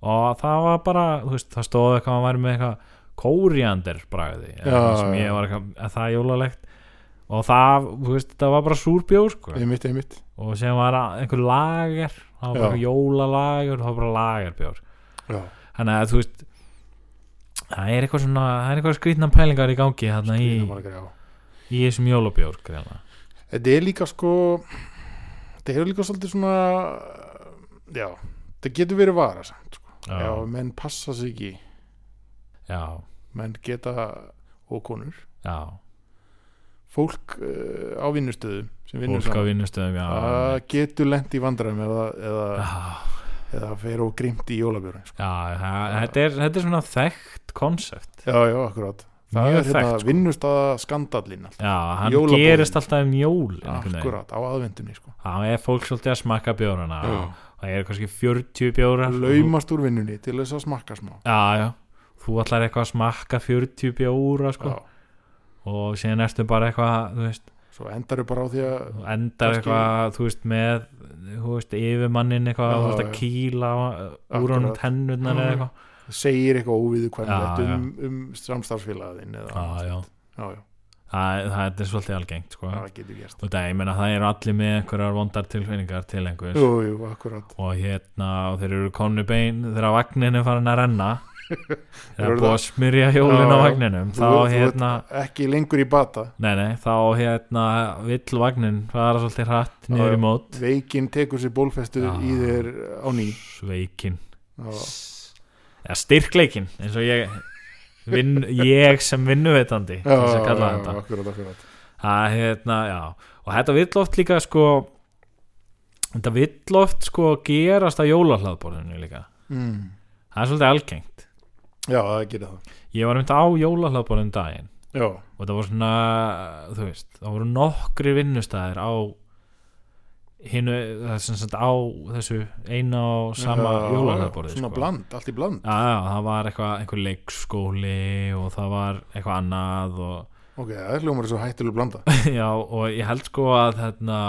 S1: og það var bara, þú veist, það stóð eitthvað að væri með eitthvað kóriander bragði eða
S5: Já,
S1: sem
S5: já.
S1: ég var eitthvað, að það er jólalegt og það, þú veist, það var bara súrbjór sko.
S5: einmitt, einmitt
S1: og sem var að- einhver lager það var bara
S5: Já.
S1: eitthvað jólalager það var bara lagerbjór
S5: Já,
S1: þannig að þú veist það er eitthvað svona, það er eitthvað skrýtna pælingar í gangi þarna í,
S5: það var ekki, já
S1: í þessum jólabjór greina.
S5: Þetta er líka sko Þetta er líka svolítið svona Já, þetta getur verið vara samt, sko.
S1: Já.
S5: Já, menn passa sig ekki
S1: já,
S5: Menn geta og konur
S1: já,
S5: Fólk uh, á vinnustöðum sem vinnur
S1: fólk á
S5: saman
S1: vinnustöðum já,
S5: Það getur lent í vandræðum eða, eða,
S1: já,
S5: eða fer og grimt í jólabjörn sko.
S1: já, það- þetta er, þetta er svona þekkt konsept
S5: Já, já, akkurat Það
S1: Mjög
S5: er hérna
S1: þekkt, sko.
S5: vinnust að skandallin
S1: Já, hann
S5: Jólabúðin.
S1: gerist alltaf um jólin einhvern veginn.
S5: Akkurat, á aðvendunni sko.
S1: Það er fólk svolítið að smakka bjórana
S5: Já.
S1: Það eru kannski 40 bjórar
S5: Laumast úr vinnunni til þess að smakka smá
S1: Já, já Þú ætlar eitthvað að smakka 40 bjóra sko.
S5: Já,
S1: og síðan ertu bara eitthvað þú veist,
S5: svo endaru bara á því að
S1: þú endar
S5: Kannski-
S1: eitthvað þú veist, með þú veist, yfirmannin eitthvað
S5: Já,
S1: þú veist, að
S5: já.
S1: kýla á- úr honum
S5: Akkurat.
S1: tennurnar eða eitthvað
S5: segir eitthvað óviðu
S1: Já, já.
S5: um, um samstarfsfélagin eða,
S1: já, já.
S5: já, já,
S1: Það, það, er svolítið algengt sko.
S5: það getur gerst
S1: og það, ég meina, það eru allir með einhverjar vondar tilfinningar til einhvers
S5: jú, jú, akkurat
S1: og hérna, og þeir eru komni bein þegar vagnin er farin að renna þeir
S5: Þeir
S1: eru
S5: eru
S1: búið að smyrja hjólin
S5: Já,
S1: á
S5: já.
S1: vagninum þá
S5: þú,
S1: hérna,
S5: þú ert ekki lengur í bata
S1: nei nei þá hérna vill vagnin fara svolítið hratt niður í
S5: já.
S1: mót
S5: veikin tekur sér bólfestu
S1: Já.
S5: í þér á ný
S1: sveikin,
S5: já,
S1: eða styrkleikin eins og ég vinn, ég sem vinnuveitandi
S5: já,
S1: þess að
S5: já,
S1: kalla þetta
S5: já, akkurat, akkurat
S1: það hérna, já, og þetta vill oft líka sko þetta vill oft sko gerast að jólahlaðborðinu líka
S5: mm.
S1: það er svolítið algengt
S5: já, það gerir það
S1: ég var einmitt á jólahlaðborðinu daginn
S5: já,
S1: og það voru svona þú veist, það voru nokkri vinnustæðir á hinu, það er sem sagt á þessu eina og sama
S5: Já,
S1: jólahlaðborði sko.
S5: svona bland, allt í bland
S1: Já, já, það var eitthvað, einhver leikskóli og það var eitthvað annað og,
S5: ok, það er hljómar svo hættilega blanda
S1: já, og ég held sko að þarna,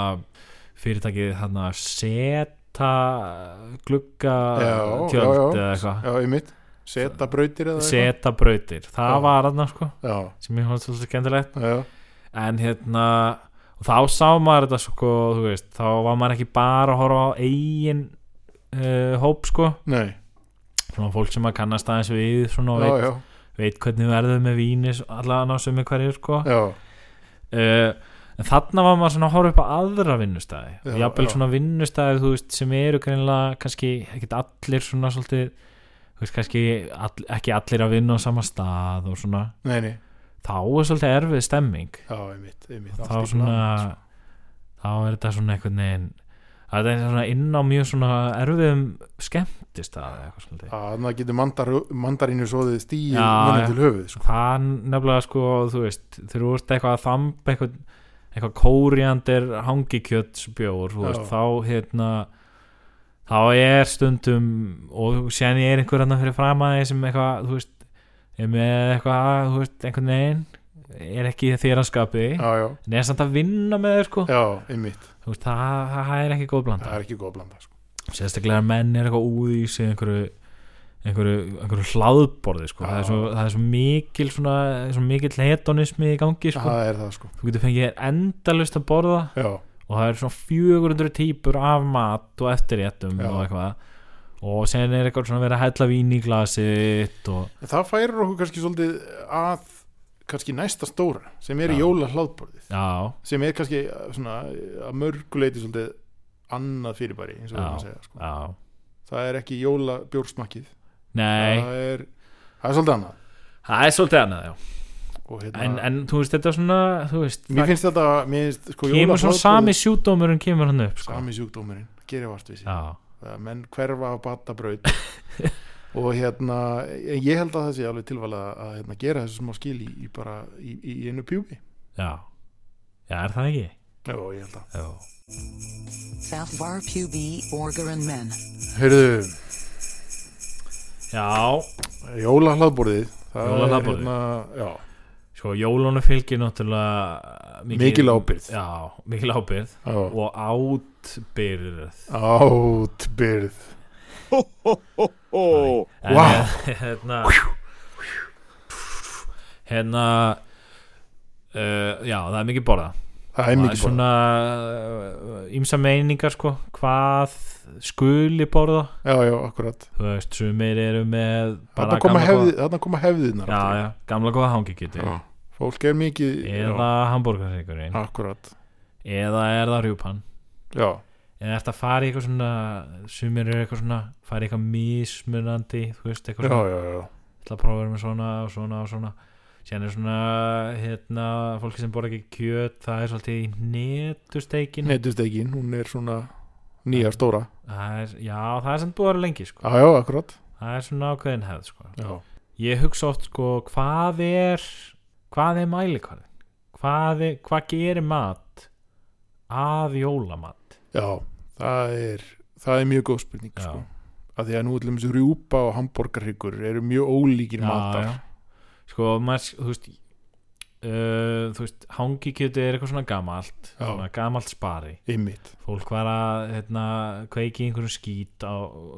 S1: fyrirtækið þarna, seta glugga
S5: Já,
S1: tjöld
S5: já, já.
S1: eða eitthvað
S5: já, einmitt, seta brautir eða eitthvað
S1: seta brautir, það
S5: Já.
S1: var þarna sko
S5: já,
S1: sem ég hótt svolítið skemmtilegt
S5: já, já,
S1: en hérna og þá sá maður þetta sko þú veist, þá var maður ekki bara að horfa á eigin uh, hóp sko
S5: nei
S1: svona fólk sem að kannast aðeins við svona og
S5: já,
S1: veit
S5: já,
S1: veit hvernig verður með víni allan á sumi hverju sko uh,
S5: já,
S1: en þarna var maður svona að horfa upp á aðra vinnustæði
S5: Já,
S1: og jafnvel
S5: já.
S1: svona vinnustæði þú veist sem eru greinilega kannski ekkit allir svona svolítið þú veist kannski all, ekki allir að vinna á sama stað og svona
S5: nei, nei
S1: þá er svolítið erfið stemming
S5: já, einmitt, einmitt
S1: þá
S5: allt í
S1: svona
S5: bland.
S1: þá er þetta svona einhvern veginn það er svona inn á mjög svona erfiðum skemmtistæði eitthvað svolítið
S5: að það getur mandar, mandarínu svoðið stíð
S1: Já, já.
S5: munum til höfuð sko.
S1: það nefnilega sko þú veist, þegar þú ert eitthvað að þamba eitthvað, eitthvað kóriandir hangikjötsbjór þú veist,
S5: Já.
S1: þá hérna þá er stundum og séðan ég er einhver annar fyrir fram að þeir sem eitthvað, þú veist er með eitthvað, þú veist, einhvern veginn er ekki þér að skapi
S5: já, já,
S1: en er samt að vinna með þér sko
S5: já, einmitt
S1: þú veist, það, það er ekki góð blanda
S5: það er ekki góð að blanda sko.
S1: sérstaklega að menn er eitthvað úði í sig einhverju, einhverju, einhverju hlaðborði sko. það, er svo, það er svo mikil svona, svo mikil hedonismi í gangi sko.
S5: það er það sko
S1: þú getur fengið þér endalust að borða
S5: já,
S1: og það eru svona 400 típur af mat og eftirréttum
S5: Já.
S1: og eitthvað og sen er eitthvað svona verið að hella vín í glasið og
S5: En það færir okkur kannski svolítið að kannski næsta stóra sem er
S1: Já.
S5: jóla hlaðborðið
S1: já,
S5: sem er kannski eh, svona eh, að mörguleiti svolítið annað fyrirbæri eins og
S1: Já.
S5: það að segja sko.
S1: já
S5: það er ekki jóla bjórsmakkið
S1: nei,
S5: það er, það er svolítið annað
S1: það er svolítið annað já.
S5: og hérna,
S1: en, en þú veist þetta er svona þú veist,
S5: mér
S1: það
S5: finnst þetta mér finnst, sko, jóla
S1: kemur svona sami sjúdómurinn kemur hann upp sko.
S5: sami sjúkdómurinn, gerir vart við sér
S1: já,
S5: Það er menn hverfa að bata braut og hérna en ég held að það sé alveg tilvala að hérna, gera þessu smá skil í, í bara í, í einu pjúbi
S1: já já, er það ekki?
S5: já, ég held að
S1: já
S6: South Bar PB Orger and Men.
S5: heyrðu,
S1: Já,
S5: Jóla hlaðborðið
S1: Jólahlaðborðið.
S5: hérna,
S1: sko jólunum fylgir náttúrulega uh,
S5: Mikil ábyrgð.
S1: Já, mikil ábyrð
S5: já,
S1: og átbyrð
S5: átbyrð
S4: Oh.
S1: En,
S5: Vá.
S1: eh, Hérna Hérna uh, Já, það er mikið borða
S5: það er
S1: Það
S5: mikið borða
S1: svona uh, Ímsa meiningar sko Hvað skuli borða
S5: já, já, akkurat
S1: Þú veist, sumir eru með bara
S5: þarna koma,
S1: gamla
S5: hefði,
S1: góða-
S5: þarna koma hefðinar
S1: Já,
S5: aftur.
S1: já, gamla góða hangi getur
S5: Já. fólk er mikið
S1: Eða hambúrgarsykurinn
S5: já, akkurat
S1: Eða er það rjúpan
S5: já,
S1: en eftir að fara í eitthvað svona sumir eru eitthvað svona fara í eitthvað mismunandi þú veist eitthvað
S5: já,
S1: svona
S5: já, já.
S1: ætla að prófa að vera með svona og svona og svona síðan er svona hérna fólki sem borða ekki kjöt það er svolítið í netusteikin
S5: netustegin, hún er svona nýja stóra
S1: það er, já það er sem búið að vera lengi sko.
S5: já, já, akkurat
S1: það er svona ákveðin hefð sko.
S5: já,
S1: ég hugsa oft sko hvað er hvað er mælikvarðin hvað, er, hvað gerir mat að jólamat
S5: já það er það er mjög góð spurning
S1: Já.
S5: sko. að því að nú ætlum þessu rjúpa og hambúrgarhyggur eru mjög ólíkir matar
S1: sko maður, þú veist uh, þú veist, hangikjöti er eitthvað svona gamalt
S5: Já.
S1: svona gamalt spari
S5: Einmitt
S1: fólk var að hérna, kveiki í einhverjum skít á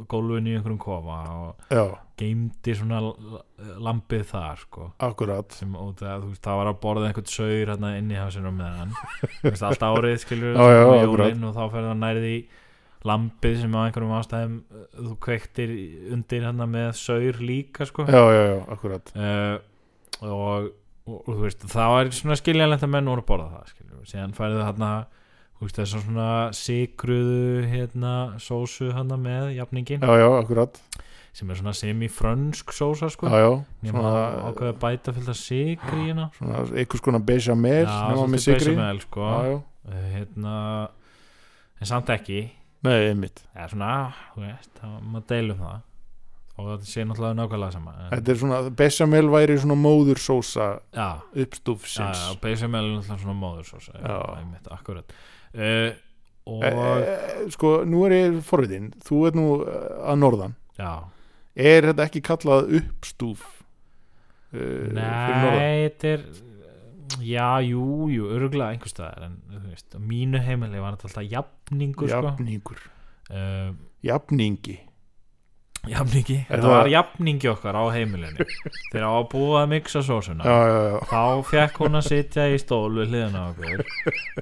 S1: gólfinu í einhverjum kofa og
S5: Já,
S1: geimdi svona l- lambið þar sko
S5: akkurat
S1: sem út að þú veist, það var að borða einhvern saur hérna inni hjá sér á meðan Þú veist, allt árið skilur
S5: Já, já,
S1: jólin og þá ferði það nærði í lampið sem á einhverjum ástæðum uh, þú kveiktir í- undir hérna með saur líka sko
S5: Já, já, já, akkurat
S1: uh, og, og, og þú veist það var svona skiljanlegt að menn voru að borða það skilur síðan færðu hérna þú veist þessar svona sigruðu hérna sósu hérna með jafningin
S5: Já, já, akkurat
S1: sem er svona semifrönsk sósa sko
S5: Já, já,
S1: nema
S5: svona,
S1: ákveða bæta fylgta sigri hérna
S5: svona einhvers konar bechamel
S1: Já,
S5: nema með
S1: svolítið
S5: sigri
S1: bechamel, sko.
S5: Já, já,
S1: Eh, hérna, en samt ekki
S5: nei, einmitt
S1: eða svona, þú veist, það maður deilum um það og þetta sé náttúrulega nákvæmlega sama en,
S5: Þetta er svona, bechamel væri svona móðursósa
S1: já, já,
S5: uppstúfsins
S1: já, bechamel er náttúrulega svona móður svo sem,
S5: Já.
S1: einmitt, akkurat uh, og,
S5: Eh, Sko, nú er ég forviðin Þú ert nú eh, að norðan
S1: já
S5: Er þetta ekki kallað uppstúf? Uh,
S1: nei, þetta er já, jú, jú, örgulega einhvers staðar, en þú veist, á mínu heimili var þetta alltaf jafningur,
S5: Jafningur
S1: sko uh,
S5: Jafningi
S1: jafningi, þetta
S5: það-
S1: var jafningi okkar á heimilinu þegar á að búa að miksa sósuna
S5: Já, já, já,
S1: þá fekk hún að sitja í stól við hliðina á okkur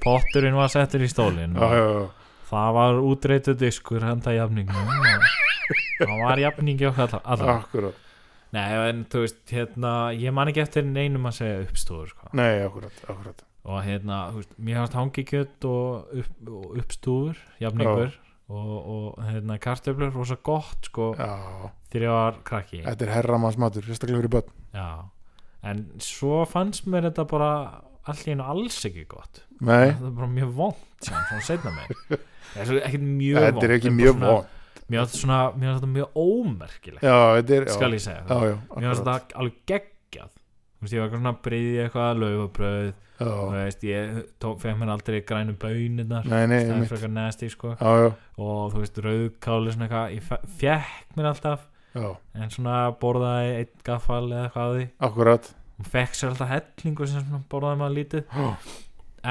S1: potturinn var settur í stólinn
S5: já, já, já.
S1: það var útreituð diskur handa jafningnum og það var jafningi okkar alla- alla
S5: Akkurat,
S1: nei en þú veist hérna ég man ekki eftir neinum að segja uppstúður sko.
S5: nei, akkurat, akkurat
S1: og hérna þú veist, mér hafði hangikjöt og, upp, og uppstúður jafningur og, og hérna kartöflur rosa gott sko
S5: Já,
S1: þegar ég var krakki
S5: þetta er herramannsmatur, sérstaklega fyrir börn
S1: já en svo fannst mér þetta bara allt í einu alls ekki gott
S5: Nei,
S1: það er bara mjög vond sem svona setna mig það er svo ekkert mjög vond
S5: þetta er ekki mjög von
S1: mér finnst svona, mér finnst þetta mjög ómerkilegt
S5: Já, þetta er, já,
S1: skal ég segja
S5: já,
S1: það
S5: já,
S1: mér finnst
S5: akkurat
S1: þetta alveg geggjað þú veist, ég var eitthvað svona að breyði eitthvað laufabröð, þú
S5: Já,
S1: veist, ég tók, fekk mér aldrei grænu bönirnar
S5: nei,
S1: það
S5: nei,
S1: er
S5: einmitt
S1: frekar nasty, sko
S5: Já, já,
S1: og þú veist, rauðkáli svona eitthvað ég fe- fekk mér alltaf
S5: já,
S1: en svona borðaði eitt gaffal eða eitthvað að því
S5: akkurat
S1: og fekk sér alltaf hellingu sem svona borðaði maður lítið
S5: Já.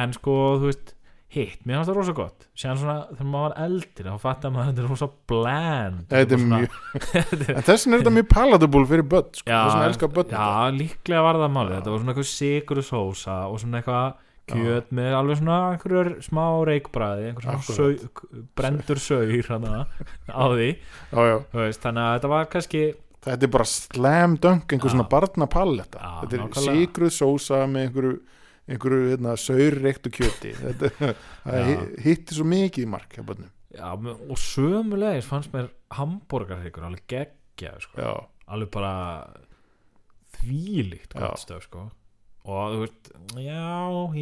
S1: en sko þú veist hitt, mér fannst það rosa gott séðan svona þegar maður var eldri þá fattaði maður að þetta er rosa bland
S5: Þetta er mjög En þessin er þetta mjög palatable fyrir börn sko. Það er svona elskar börn
S1: já, líklega var það málið þetta var svona eitthvað sigru sósa og svona eitthvað kjöt með alveg svona einhverjur smá reikbræði einhver svona
S5: Akkurat.
S1: sau, brendur saur hana, á því
S5: já, já.
S1: þú veist, þannig að þetta var kannski
S5: Þetta er bara slam dunk einhver
S1: Já.
S5: svona barnapalletta
S1: Já,
S5: Þetta er
S1: nákvæmlega.
S5: sigruð sósa með einhverju einhverju hérna, saurreiktu kjöti þetta það
S1: Já.
S5: hi- hitti svo mikið í mark hjá börnum
S1: já, og sömulegis fannst mér hambúrgarhyggur alveg geggja sko.
S5: já,
S1: alveg bara þvílíkt
S5: Já.
S1: gott stöf sko og þú veist, já,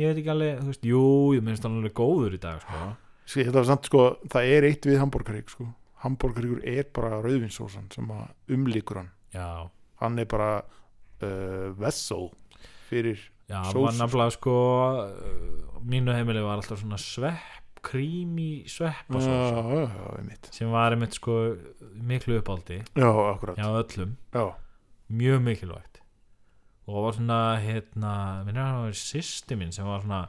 S1: ég veit ekki alveg þú veist, jú, ég minnst hann alveg góður í dag sko.
S5: Ski, þetta var samt sko, það er eitt við hambúrgarík sko. hambúrgaríkur er bara rauðvinsósan sem að umlíkur hann
S1: já,
S5: hann er bara uh, vessel fyrir
S1: já, var
S5: Sós-
S1: nafnilega sko uh, mínu heimili var alltaf svona svepp krími svepp
S5: já,
S1: og svo
S5: já, já, einmitt.
S1: sem var einmitt sko miklu uppáldi
S5: já, akkurat
S1: já,
S5: já.
S1: öllum,
S5: Já.
S1: mjög mikilvægt og var svona hérna, minnir hann var sýsti mín sem var svona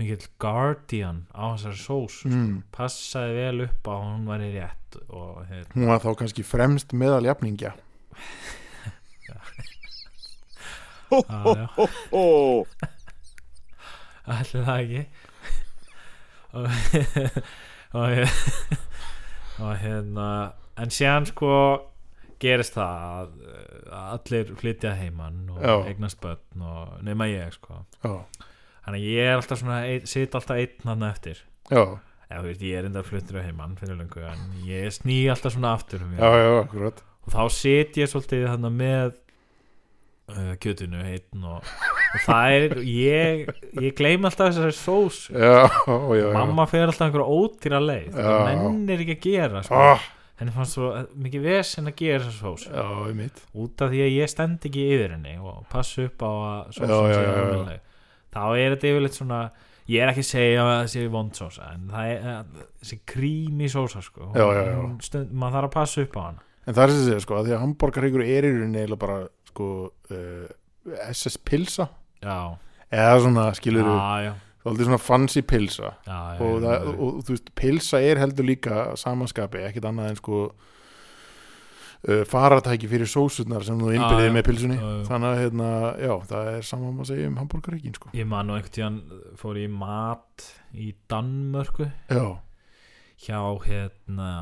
S1: mikill guardian á þessari sós
S5: Mm.
S1: passaði vel upp á að hún væri rétt og hérna
S5: hún var þá kannski fremst meðal jafningja
S1: Já, já. Ætli það ekki og, og, he- og hérna en síðan sko gerist það að, að allir flytja að heiman og
S5: Já.
S1: eignast börn og nema ég sko
S5: já,
S1: þannig að ég er alltaf svona ein, sit alltaf einn hann eftir
S5: já,
S1: eða þú veist ég er enda fluttur að heiman fyrir lengu en ég sný alltaf svona aftur um
S5: já, já, akkurat
S1: og þá set ég svolítið þannig með uh, kjötinu heitin og, og það er ég, ég gleym alltaf þessari sós
S5: já, já, já.
S1: mamma fer alltaf einhverja ótýra leið það
S5: Já.
S1: mennir ekki að gera sko.
S5: ah,
S1: henni fannst svo mikið vesen að gera þessar sós
S5: já, einmitt
S1: út af því að ég stend ekki yfir henni og passa upp á að sósan
S5: Já, já,
S1: sé
S5: já, já.
S1: ömurleg. þá er þetta yfirleitt svona ég er ekki að segja að það sé vond sósa en það er eh, þessi krími sósa sko.
S5: Já, já, já.
S1: Hún Stund, maður þarf að passa upp á hana
S5: En það er sem segja sko, að því að eh, hambúrgaríkur er í rauninni eiginlega bara sko uh, SS-pilsa
S1: já,
S5: eða svona skilur þú,
S1: já, já,
S5: aldrei svona fancy pilsa
S1: já, já,
S5: og,
S1: já,
S5: það,
S1: já.
S5: og, og þú veist, pilsa er heldur líka að samanskapi, ekkit annað en sko uh, faratæki fyrir sósurnar sem þú
S1: Ah, já.
S5: innbyrðir með pilsunni
S1: Já, já.
S5: þannig að hérna, já, það er saman maður segja um hambúrgareikin sko
S1: Ég man nú einhvern tíðan fór ég í mat í Danmörku
S5: já,
S1: hjá hérna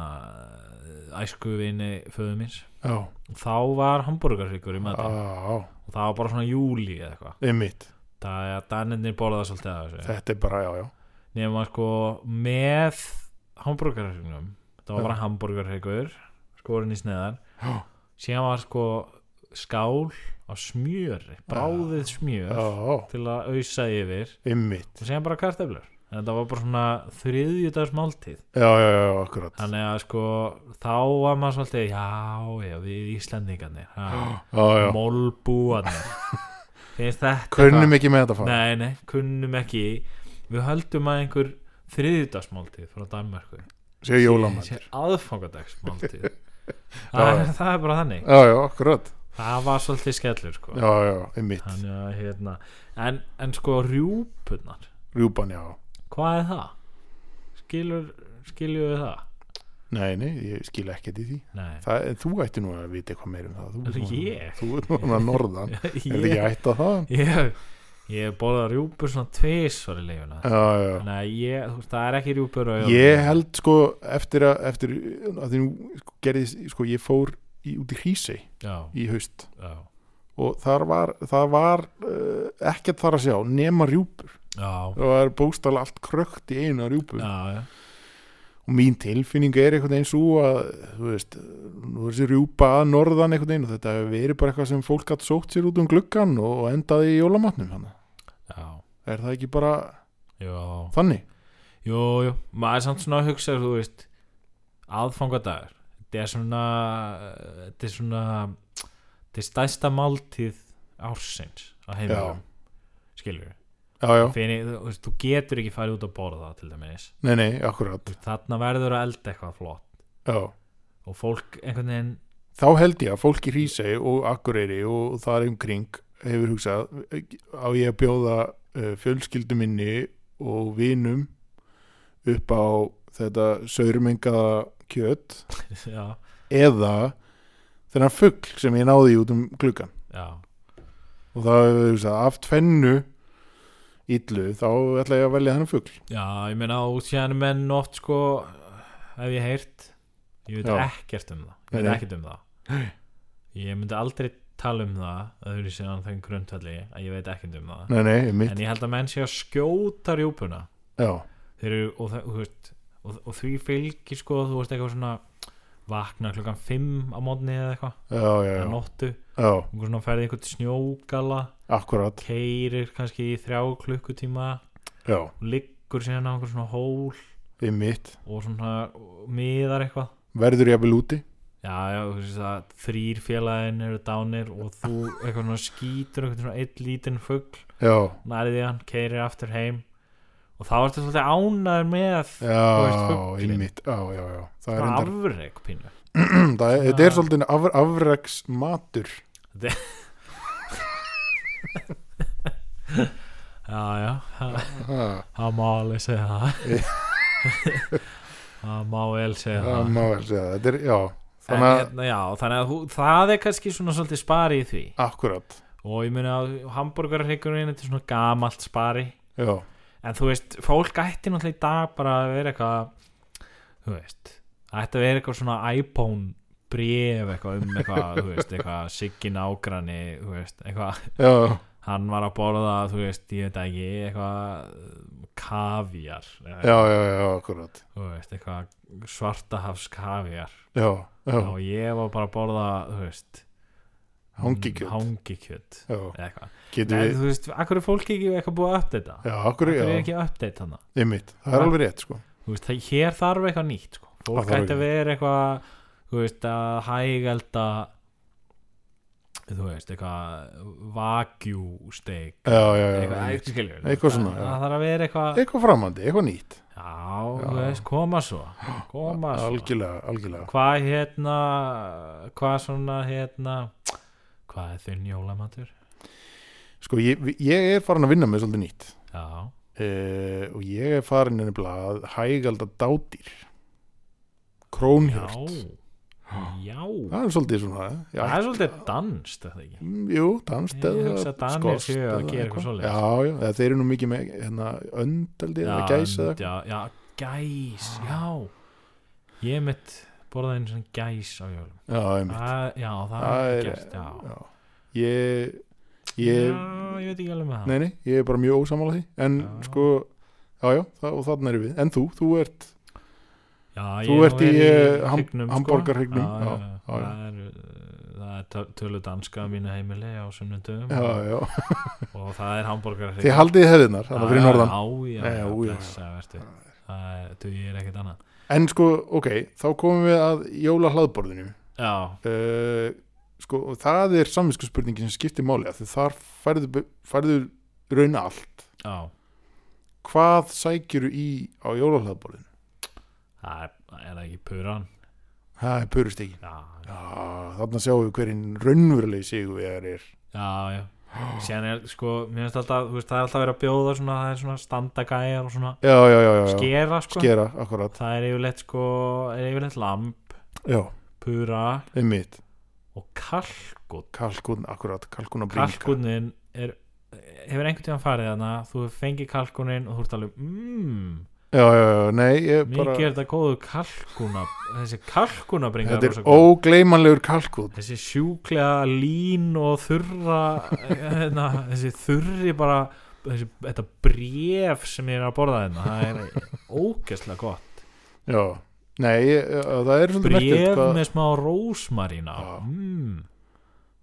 S1: æskuvini föðu míns
S5: já, Ah,
S1: þá var hambúrgarhryggur í matinn
S5: á,
S1: og það var bara svona júli eða eitthvað
S5: einmitt
S1: það er að danirnir borða svolítið að þessu
S5: þetta er bara, já, já,
S1: nema sko með hambúrgarhryggnum það var bara hambúrgarhryggur skorinn í sneðar
S5: Já.
S1: síðan var sko skál á smjöri bráðið smjör
S5: já, já,
S1: til að ausa yfir
S5: einmitt
S1: og síðan bara kartöflur en þetta var bara svona þriðjudags máltíð
S5: já, já, já, akkurat já,
S1: þannig að sko þá var maður svolítið já, já, við Íslandingarnir ha,
S5: já,
S1: mólbúarnir finnst þetta
S5: kunnum ekki með þetta fara
S1: nei, nei, kunnum ekki við höldum að einhver þriðjudagsmáltíð frá Danmarku
S5: séu jólamætt,
S1: aðfangadagsmáltíð það, er- það er bara þannig
S5: já, já, akkurat
S1: það var svolítið skellur sko
S5: já, já, einmitt,
S1: þannig að hérna en, en sko rjúpunar
S5: rjúpan, já
S1: hvað er það? skilur, skilur við það?
S5: nei, nei, ég skil ekkert í því
S1: nei
S5: Það, en þú ætti nú að vita eitthvað meir um það Þú ert nú-
S1: Ég?
S5: Þú ert nú að norðan Er þetta ekki
S1: Ég-
S5: ætt að það?
S1: ég, ég borða rjúpur svona tvisvar í leifuna
S5: Já, já, já.
S1: þannig að ég, þú veist, það er ekki rjúpur á jólum.
S5: Ég held sko eftir að, eftir að því nú sko, gerðis, sko ég fór í, út í Hrísey
S1: já,
S5: í haust
S1: já,
S5: og þar var, það var uh, ekkert þar að sjá nema rjúpur
S1: já,
S5: og það er bóstala allt krökt í eina rjúpur
S1: já, já.
S5: og mín tilfinning er einhvern veginn svo að þú veist, nú er þessi rjúpa að norðan einhvern veginn og þetta hefur verið bara eitthvað sem fólk hatt sótt sér út um gluggan og endaði í jólamatnum hann
S1: já.
S5: er það ekki bara
S1: Jó,
S5: þannig?
S1: jó, jó, maður er samt svona að hugsa, þú veist, aðfangadagur, þetta er svona, þetta er svona, þetta er stærsta máltíð ársins á heimilum, skilur við.
S5: Já, já,
S1: Fyrir, þú, veist, þú getur ekki farið út að borða það til dæmis,
S5: nei, nei, akkurat
S1: þarna verður að elda eitthvað flott
S5: já.
S1: og fólk einhvern veginn,
S5: Þá held ég að fólk í Hrísey og Akureyri og þar um kring hefur hugsað á ég að bjóða eh, fjölskyldu minni og vinum upp á þetta saurmengaða kjöt
S1: já,
S5: eða þennan fugl sem ég náði í út um gluggan
S1: já,
S5: og það hefur hugsað af tvennu illu þá ætla ég að velja þennan fugl
S1: Já, ég meina útsjæðan menn oft sko hef ég heyrt ég veit
S5: Já.
S1: ekkert um það ég
S5: Nei,
S1: veit
S5: nei.
S1: ekkert um það ég myndi aldrei tala um það öðru síðan þegar grundvalli að ég veit ekkert um það
S5: Nei, nei, mitt,
S1: en ég held að menn sé að skjóta rjúpuna
S5: já,
S1: þeir eru og, það, og, þú veist, og, og því fylgir sko þú veist eitthvað svona vakna klukkan 5 á mótni eða eitthvað
S5: já, já,
S1: eða
S5: já,
S1: nóttu
S5: já,
S1: og svona ferði einhvern snjógala
S5: akkurat,
S1: keirir kannski í þrjá klukkutíma
S5: já,
S1: og liggur síðan á einhvern svona hól
S5: ég mitt,
S1: og svona og miðar eitthvað
S5: verður ég að vel úti
S1: já, já, þú veist það, þrýr félagin eru dánir og þú eitthvað svona skýtur eitthvað svona eitt lítinn fugl
S5: já,
S1: nærið í hann, keirir aftur heim og þá ertu svolítið ánæður með
S5: já,
S1: fuglinn.
S5: einmitt já, já, já, það er
S1: svona
S5: reyndar
S1: afreg pínu
S5: það er- þetta er svolítið af, afreks matur
S1: já, já, það-
S5: það
S1: það má alveg segja það það má vel segja það
S5: má vel segja það, þetta er, já
S1: En,
S5: þannig að,
S1: hérna, já, þannig að þú, það er kannski svona svolítið spari í því
S5: akkurat
S1: og ég meina að hambúrgarhryggurinn þetta er svona gamalt spari
S5: já,
S1: en þú veist, fólk ætti náttúrulega í dag bara að vera eitthvað þú veist, það ætti að vera eitthvað svona iPhone bref eitthvað um eitthvað, þú veist, eitthvað Siggi nágrani, þú veist, eitthvað
S5: já,
S1: hann var að borða, þú veist, ég veit ekki eitthvað uh, kaviar eða,
S5: já, já, já, akkurat
S1: þú veist, eitthvað svartahafs kaviar
S5: já, já,
S1: og ég var bara að borða, þú veist mm,
S5: hangikjöld
S1: hangikjöt
S5: já,
S1: eða eitthvað,
S5: getur
S1: en
S5: við,
S1: þú veist, akkur er fólk ekki eitthvað búið að uppdata
S5: já, akkur,
S1: akkur er
S5: já
S1: ekki að uppdata þannig
S5: einmitt, það er
S1: Já.
S5: alveg rétt, sko
S1: þú veist, það, hér þarf eitthvað nýtt sko. fólk
S5: þarf
S1: ætti að
S5: eitthvað.
S1: vera eitthvað þú veist, að hægelda þú veist, eitthvað vakjústeik
S5: já, já, já,
S1: eitthvað,
S5: einmitt.
S1: eitthvað, skilur,
S5: Eitthvað svona,
S1: það,
S5: já.
S1: það þarf að vera eitthvað já,
S5: eitthvað framandi, eitthvað nýtt
S1: þú veist, koma svo koma sko. svo
S5: algjörlega, algjörlega
S1: hvað hérna hvað svona hérna hvað er þinn jólamatur?
S5: sko ég, ég er farin að vinna með svolítið nýtt
S1: Já,
S5: uh, og ég er farin nefnilega að hægalda dádýr krónhjört
S1: já Já
S5: það er svolítið svona já,
S1: Það er svolítið danst, er það ekki
S5: Mm, Jú, danst
S1: Ég hugsa að Danir séu að gera eitthvað svoleiðis.
S5: Já, já, eða þeir eru nú mikið með hérna, öndaldi eða gæs eða Ah.
S1: önd, já, já, gæs, já Ég mitt borðaði einu svona gæs á jólum
S5: Já, einmitt
S1: Æ, Já, það
S5: Það
S1: er
S5: er-
S1: gæst, já
S5: já. Ég, ég,
S1: Já, ég veit ekki alveg með það
S5: nei, nei, ég er bara mjög ósamála því En
S1: Já.
S5: sko, já, já, það, og þarna erum við En þú, þú ert
S1: já,
S5: þú
S1: ég
S5: ert
S1: nú
S5: í,
S1: er
S5: eh, ham-
S1: hryggnum,
S5: hamborgarhryggnum,
S1: sko. já, já,
S5: já, já, já.
S1: Það er, uh, það er töl- tölu danska á mínu heimili á sunnudum
S5: Já, já,
S1: og það er hamborgarhrygg
S5: þið haldið hefðirnar Þannig fyrir norðan
S1: Já, já,
S5: Nei,
S1: já,
S5: já, já, já.
S1: blessa, vertu Það er- dugir ekkert annað
S5: En sko, ok, þá komum við að jóla hlaðborðinu
S1: Já,
S5: uh, Sko, og það er samvinsku spurningin sem skiptir máli af Því þar færðu, færðu raun allt
S1: já
S5: Hvað sækjuru í á jóla hlaðborðinu?
S1: Það er, er það ekki puran
S5: Það er purustíkin
S1: Já,
S5: Já, þarna sjáum við hverjum raunverulegi sigurvegar er
S1: já, já Síðan er, sko, mér finnst alltaf, þú veist, það er alltaf verið að bjóða svona, það er svona standagæjar og svona
S5: Já, já, já, já, já.
S1: skera, sko
S5: skera, akkurat
S1: Það er yfirleitt, sko, er yfirleitt lamb,
S5: Já,
S1: pura
S5: einmitt,
S1: og kalkun
S5: kalkun, akkurat, kalkun að bringa
S1: kalkunin er hefur einhvern tíðan farið þarna þú fengið kalkunin og þú ert alveg mmm,
S5: Já, já, já, nei, ég
S1: mikið
S5: bara
S1: er þetta góðu kalkuna þessi kalkuna bringa
S5: Þetta er ógleymanlegur kalkun
S1: þessi sjúklega lín og þurra hérna, þessi þurri bara þessi, þetta bref sem ég er að borða hérna það er ógeðslega gott
S5: Já, nei, ég, já, það er svolítið merkilegt
S1: bref
S5: um, hvað-
S1: með smá rósmarína
S5: Já.
S1: mmm,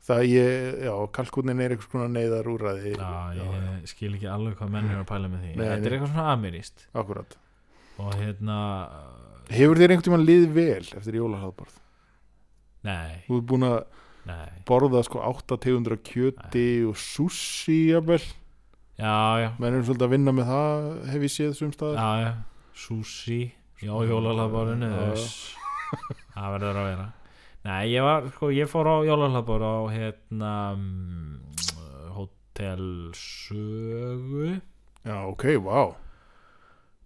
S5: Það ég, já, kalkunin er einhvers konar neyðar úræði
S1: já, ég skil ekki alveg hvað menn er að pæla með því
S5: Nei,
S1: þetta
S5: nei.
S1: er eitthvað svona amirist
S5: akkurat
S1: og hérna
S5: Hefur þér einhvern tímann lið vel eftir jólahraðborð?
S1: nei,
S5: Þú ert búin að
S1: nei
S5: borða sko 800 kjöti og sushi, jafnvel
S1: já, já,
S5: Menn erum svolítið að vinna með það, hef ég séð sum staðar
S1: já, já. sushi já, jólalabbarinu
S5: Já, já.
S1: það verður að vera nei, ég var, sko, ég fór á jólalabbar á hérna mm, hotelsögu
S5: Já, ok, vá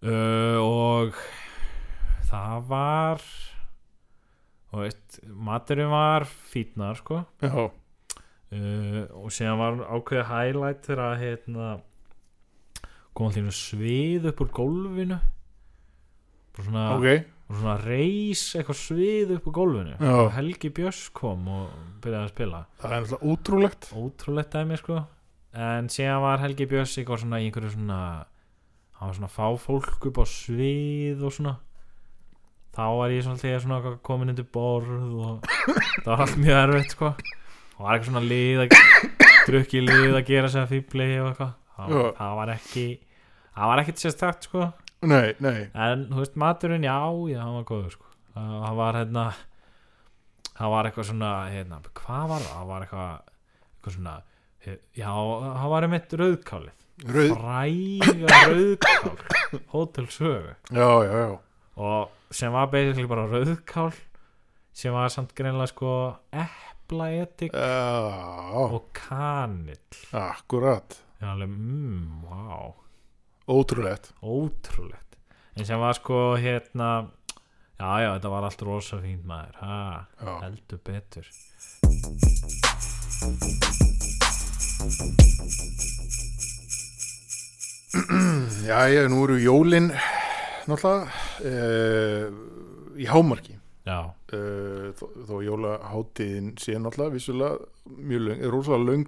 S1: uh, og það var þú veist, maturinn var fítnar, sko
S5: Já,
S1: uh, og síðan var ákveðið highlight þegar að hérna kom allir svið upp úr gólfinu bara svona,
S5: ok,
S1: bara svona reis eitthvað svið upp úr gólfinu
S5: Já.
S1: Og Helgi Björns kom og byrjaði að spila
S5: það er náttúrulega útrúlegt
S1: ótrúlegt dæmi sko en síðan var Helgi Björns eitthvað svona í einhverju svona hann var svona að fá fólk upp á svið og svona þá var ég svolítið svona komin undir borð og það var allt mjög erfitt sko og var eitthvað svona lið að drukki lið að gera sig að fýbli og eitthvað það,
S5: Já.
S1: það var ekki það var ekkert sérstakt sko
S5: Nei, nei,
S1: en þú veist maturinn já, já, hann var góður sko það hann var hérna hann var eitthvað svona, hérna, hvað var það hann var eitthvað, eitthvað svona he- já, hann var einmitt rauðkálið
S5: rauð
S1: fræga rauðkál hótelsögu
S5: Já, já, já,
S1: og sem var basically bara rauðkál sem var samt greinlega sko eplaetik
S5: já,
S1: og kanill
S5: akkurat
S1: ég var alveg, mmm, wow
S5: Ótrúlegt
S1: ótrúlegt en sem var sko hérna já já þetta var allt rosa fínt maður ha,
S5: Já.
S1: heldur betur
S5: Já, já, nú eru jólin náttúrulega uh, í hámarki
S1: já,
S5: uh, þó, þó jólaháttíðin sé náttúrulega vissulega mjög löng, er rosalega löng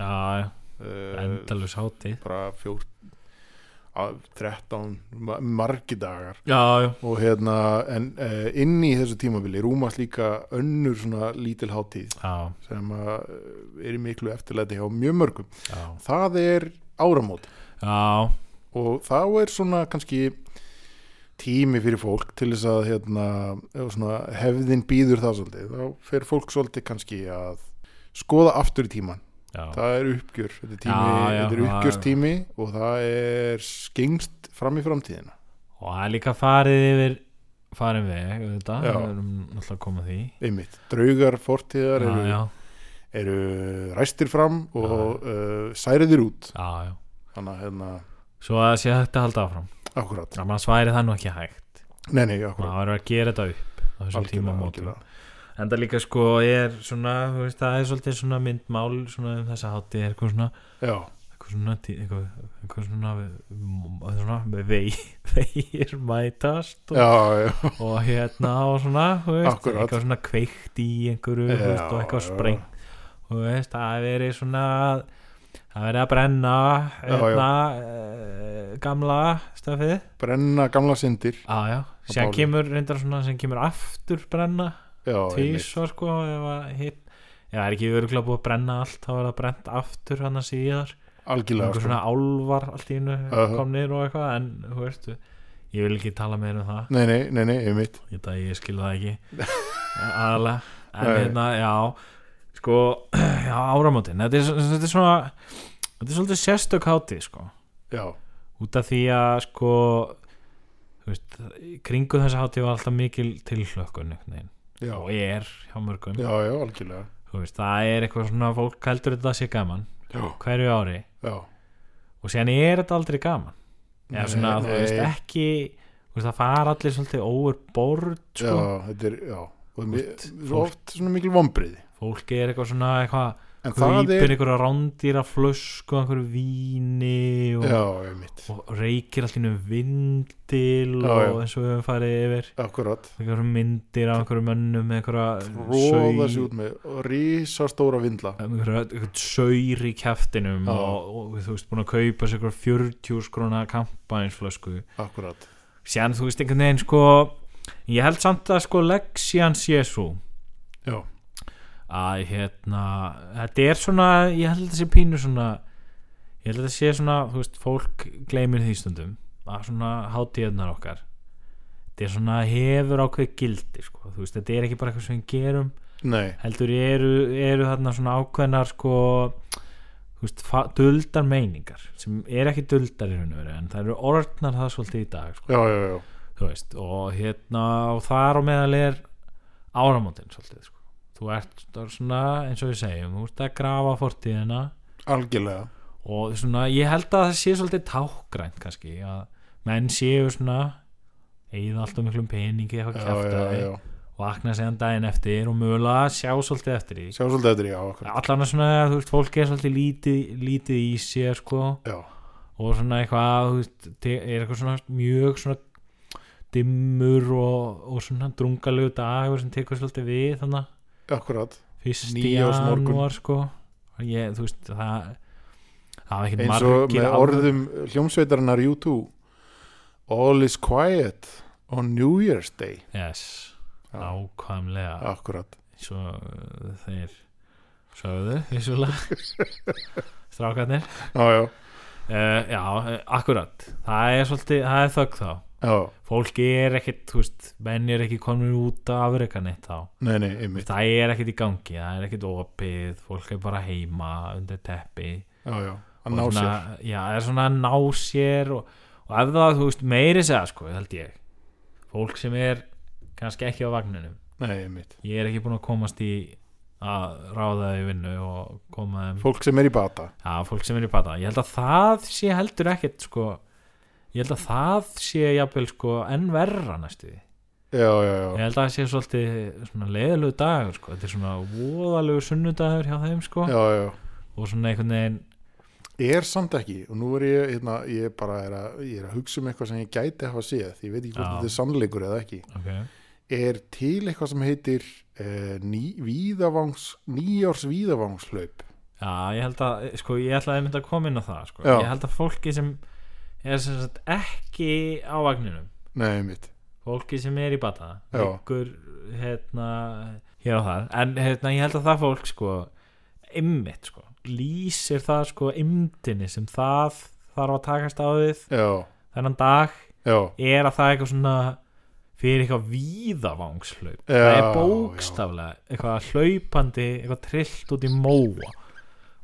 S1: já, já,
S5: uh,
S1: endalus hátíð
S5: bara fjór að 13 ma- margi dagar
S1: já, já,
S5: og hérna en uh, inn í þessu tímabili rúmast líka önnur svona lítil hátíð
S1: já,
S5: sem að eh, er í miklu eftirlæti hjá mjög mörgum
S1: já,
S5: það er áramót
S1: já,
S5: og þá er svona kannski tími fyrir fólk til þess að hérna, ef svona, hefðin býður það svolítið þá fer fólk svolítið kannski að skoða aftur í tíman
S1: já.
S5: það er uppgjör, þetta er, tími,
S1: Já, já,
S5: þetta er
S1: já,
S5: uppgjörstími og það er skengst fram í framtíðina
S1: og það er líka farið yfir farin veg þetta,
S5: Já.
S1: við erum náttúrulega að koma að því
S5: einmitt, draugar fortíðar
S1: já,
S5: eru,
S1: já,
S5: eru ræstir fram og uh, særiðir út
S1: já, já
S5: þannig að hérna,
S1: svo að það sé hægt að halda áfram
S5: akkurat
S1: þannig að sværi það nú ekki hægt
S5: nei, nei,
S1: það
S5: akkurat,
S1: verður að gera þetta upp á þessum
S5: algjörlega,
S1: tímamótum
S5: algjörlega.
S1: en það líka sko er svona þú veist, það er svolítið svona myndmál svona um þessa hátíð er eitthvað svona
S5: já,
S1: eitthvað svona tí- eitthvað, eitthvað svona, við- svona vei, veir mætast og,
S5: já, já,
S1: og hérna og svona þú veist,
S5: Akkúrat.
S1: eitthvað svona kveikt í einhverju þú veist, og
S5: Já,
S1: eitthvað
S5: já.
S1: spreng þú veist, það er verið svona það er verið að brenna
S5: Já, já.
S1: hérna, eh, gamla stafið
S5: brenna gamla syndir
S1: ah, já, sem
S5: bálið.
S1: kemur reyndar svona sem kemur aftur brenna
S5: já, einmitt.
S1: tísvar sko ef að hitt Já, það er ekki örgulega búið að brenna allt, þá er það brent aftur hann að síðar
S5: algjörlega
S1: einhver
S5: sko.
S1: svona álvar allt í hennu
S5: Aha.
S1: komnir og eitthvað en þú veist, ég vil ekki tala meira um það
S5: nei, nei, nei, nei, einmitt
S1: ég, það, ég skil það ekki aðalega, en
S5: Nei.
S1: hérna, já sko, já, áramótin þetta er, svo- þetta er svona þetta er svolítið sérstök hátíð, sko
S5: já,
S1: út af því að, sko þú veist, í kringu þessa hátíð var alltaf mikil tilhlökkun einhvern veginn.
S5: já,
S1: og er hjá mörgum
S5: já, já, algjörlega
S1: þú veist, það er eitthvað svona fólk heldur þetta sé gaman
S5: já,
S1: hverju ári
S5: já,
S1: og síðan er þetta aldrei gaman eða
S5: Nei,
S1: svona, þú veist,
S5: nei.
S1: ekki þú veist, það fara allir svolítið over board
S5: já,
S1: sko.
S5: þetta er, já og mér, svo
S1: fólk-
S5: oft svona mikil vombriði
S1: fólk er eitthvað svona eitthvað,
S5: en það
S1: grýpir
S5: er,
S1: einhverja rándýra flösku, einhverju víni og,
S5: já, einmitt
S1: og reykir allir um vindil
S5: Já,
S1: og
S5: já.
S1: eins og við höfum farið yfir
S5: akkurat,
S1: einhverju myndir af einhverju mönnum með einhverja
S5: róða sér út með og risastóra vindla
S1: einhvern saur í kjæftinum
S5: Já.
S1: og, og þú veist búin að kaupa sér einhverja 40 skrona kampænsflösku
S5: akkurat,
S1: síðan þú veist einhvern veginn sko ég held samt að sko leksían sé svo
S5: já,
S1: að hérna þetta er svona, ég held að þetta sé pínu svona ég held að þetta sé svona þú veist, fólk gleymir því stundum að svona hátíðnar okkar þetta er svona hefur ákveð gildi sko, þú veist, þetta er ekki bara eitthvað sem við gerum
S5: nei
S1: heldur eru, eru þarna svona ákveðnar sko þú veist, fa- duldar meiningar sem er ekki duldar í raun og veru en það eru orðnar það svolítið í dag sko
S5: já, já, já,
S1: þú veist, og hérna og þar á meðal er áramótin svolítið, sko. þú ert það er svona, eins og við segjum, þú ert að grafa fortíðina
S5: algjörlega
S1: og svona, ég held að það sé svolítið tákgrænt kannski, að menn séu svona eigið allt og miklum peningi eitthvað
S5: já,
S1: kæft
S5: já,
S1: að
S5: já,
S1: þið vakna segjan daginn eftir og mögulega sjá svolítið eftir því
S5: sjá svolítið eftir, já, akkurat
S1: allan að svona, þú veist, fólk er svolítið lítið, lítið í sér, sko
S5: já,
S1: og svona eitthvað þú veist, te- er eitthvað svona mjög svona dimmur og, og svona drungalegu dagur sem tekur svolítið við þannig
S5: akkurat
S1: fyrst í
S5: Nýársmorgun.
S1: janúar sko ég, þú veist það það var ekkert
S5: eins og
S1: margir
S5: með
S1: alveg-
S5: orðum hljómsveitarinnar U2 All is quiet on New Year's Day
S1: yes, nákvæmlega
S5: akkurat,
S1: eins og uh, þeir sögðu vissulega strákarnir
S5: já, já,
S1: uh, já, eh, akkurat það er svolítið, það er þögg þá
S5: já
S1: fólk er ekkert, þú veist menn er ekki komin út af afreika neitt þá
S5: nei, nei, einmitt,
S1: það er ekkert í gangi, það er ekkert opið fólk er bara heima undir teppi
S5: já, já
S1: og
S5: að ná
S1: svona,
S5: sér,
S1: já, það er svona að ná sér og, og ef það, þú veist, meiri segja sko, held ég, fólk sem er kannski ekki á vagninum
S5: nei, einmitt
S1: ég er ekki búin að komast í að ráða þau vinnu og koma þeim
S5: fólk sem er í bata,
S1: já, fólk sem er í bata, ég held að það sé heldur ekkert sko, ég held að það sé jafnvel sko enn verra næstu því
S5: já, já, já
S1: Ég held að það sé svolítið svona leiðilegu dagur sko. Þetta er svona voðalegu sunnudagur hjá þeim sko.
S5: já, já,
S1: og svona einhvern veginn
S5: er samt ekki og nú er ég, hérna, ég bara er að, ég er að hugsa um eitthvað sem ég gæti hafa séð ég veit ekki hvort
S1: Já.
S5: þetta er sannleikur eða ekki
S1: okay.
S5: er til eitthvað sem heitir uh, ný, víðavangs, nýjárs víðavangslaup
S1: Já, ég held að sko, ég ætlaði að mynda að koma inn á það sko.
S5: Já.
S1: Ég held að fólki sem er sem sagt ekki á vagninum
S5: nei, einmitt,
S1: fólki sem er í bata
S5: Já.
S1: ykkur hérna hér og þar, en hérna ég held að það fólk sko, ymmit sko lýsir það sko ymdini sem það þarf að takast á við
S5: já,
S1: þennan dag
S5: já
S1: er að það er eitthvað svona fyrir eitthvað víðavangslaup
S5: Já,
S1: það er bókstaflega eitthvað hlaupandi, eitthvað trillt út í móa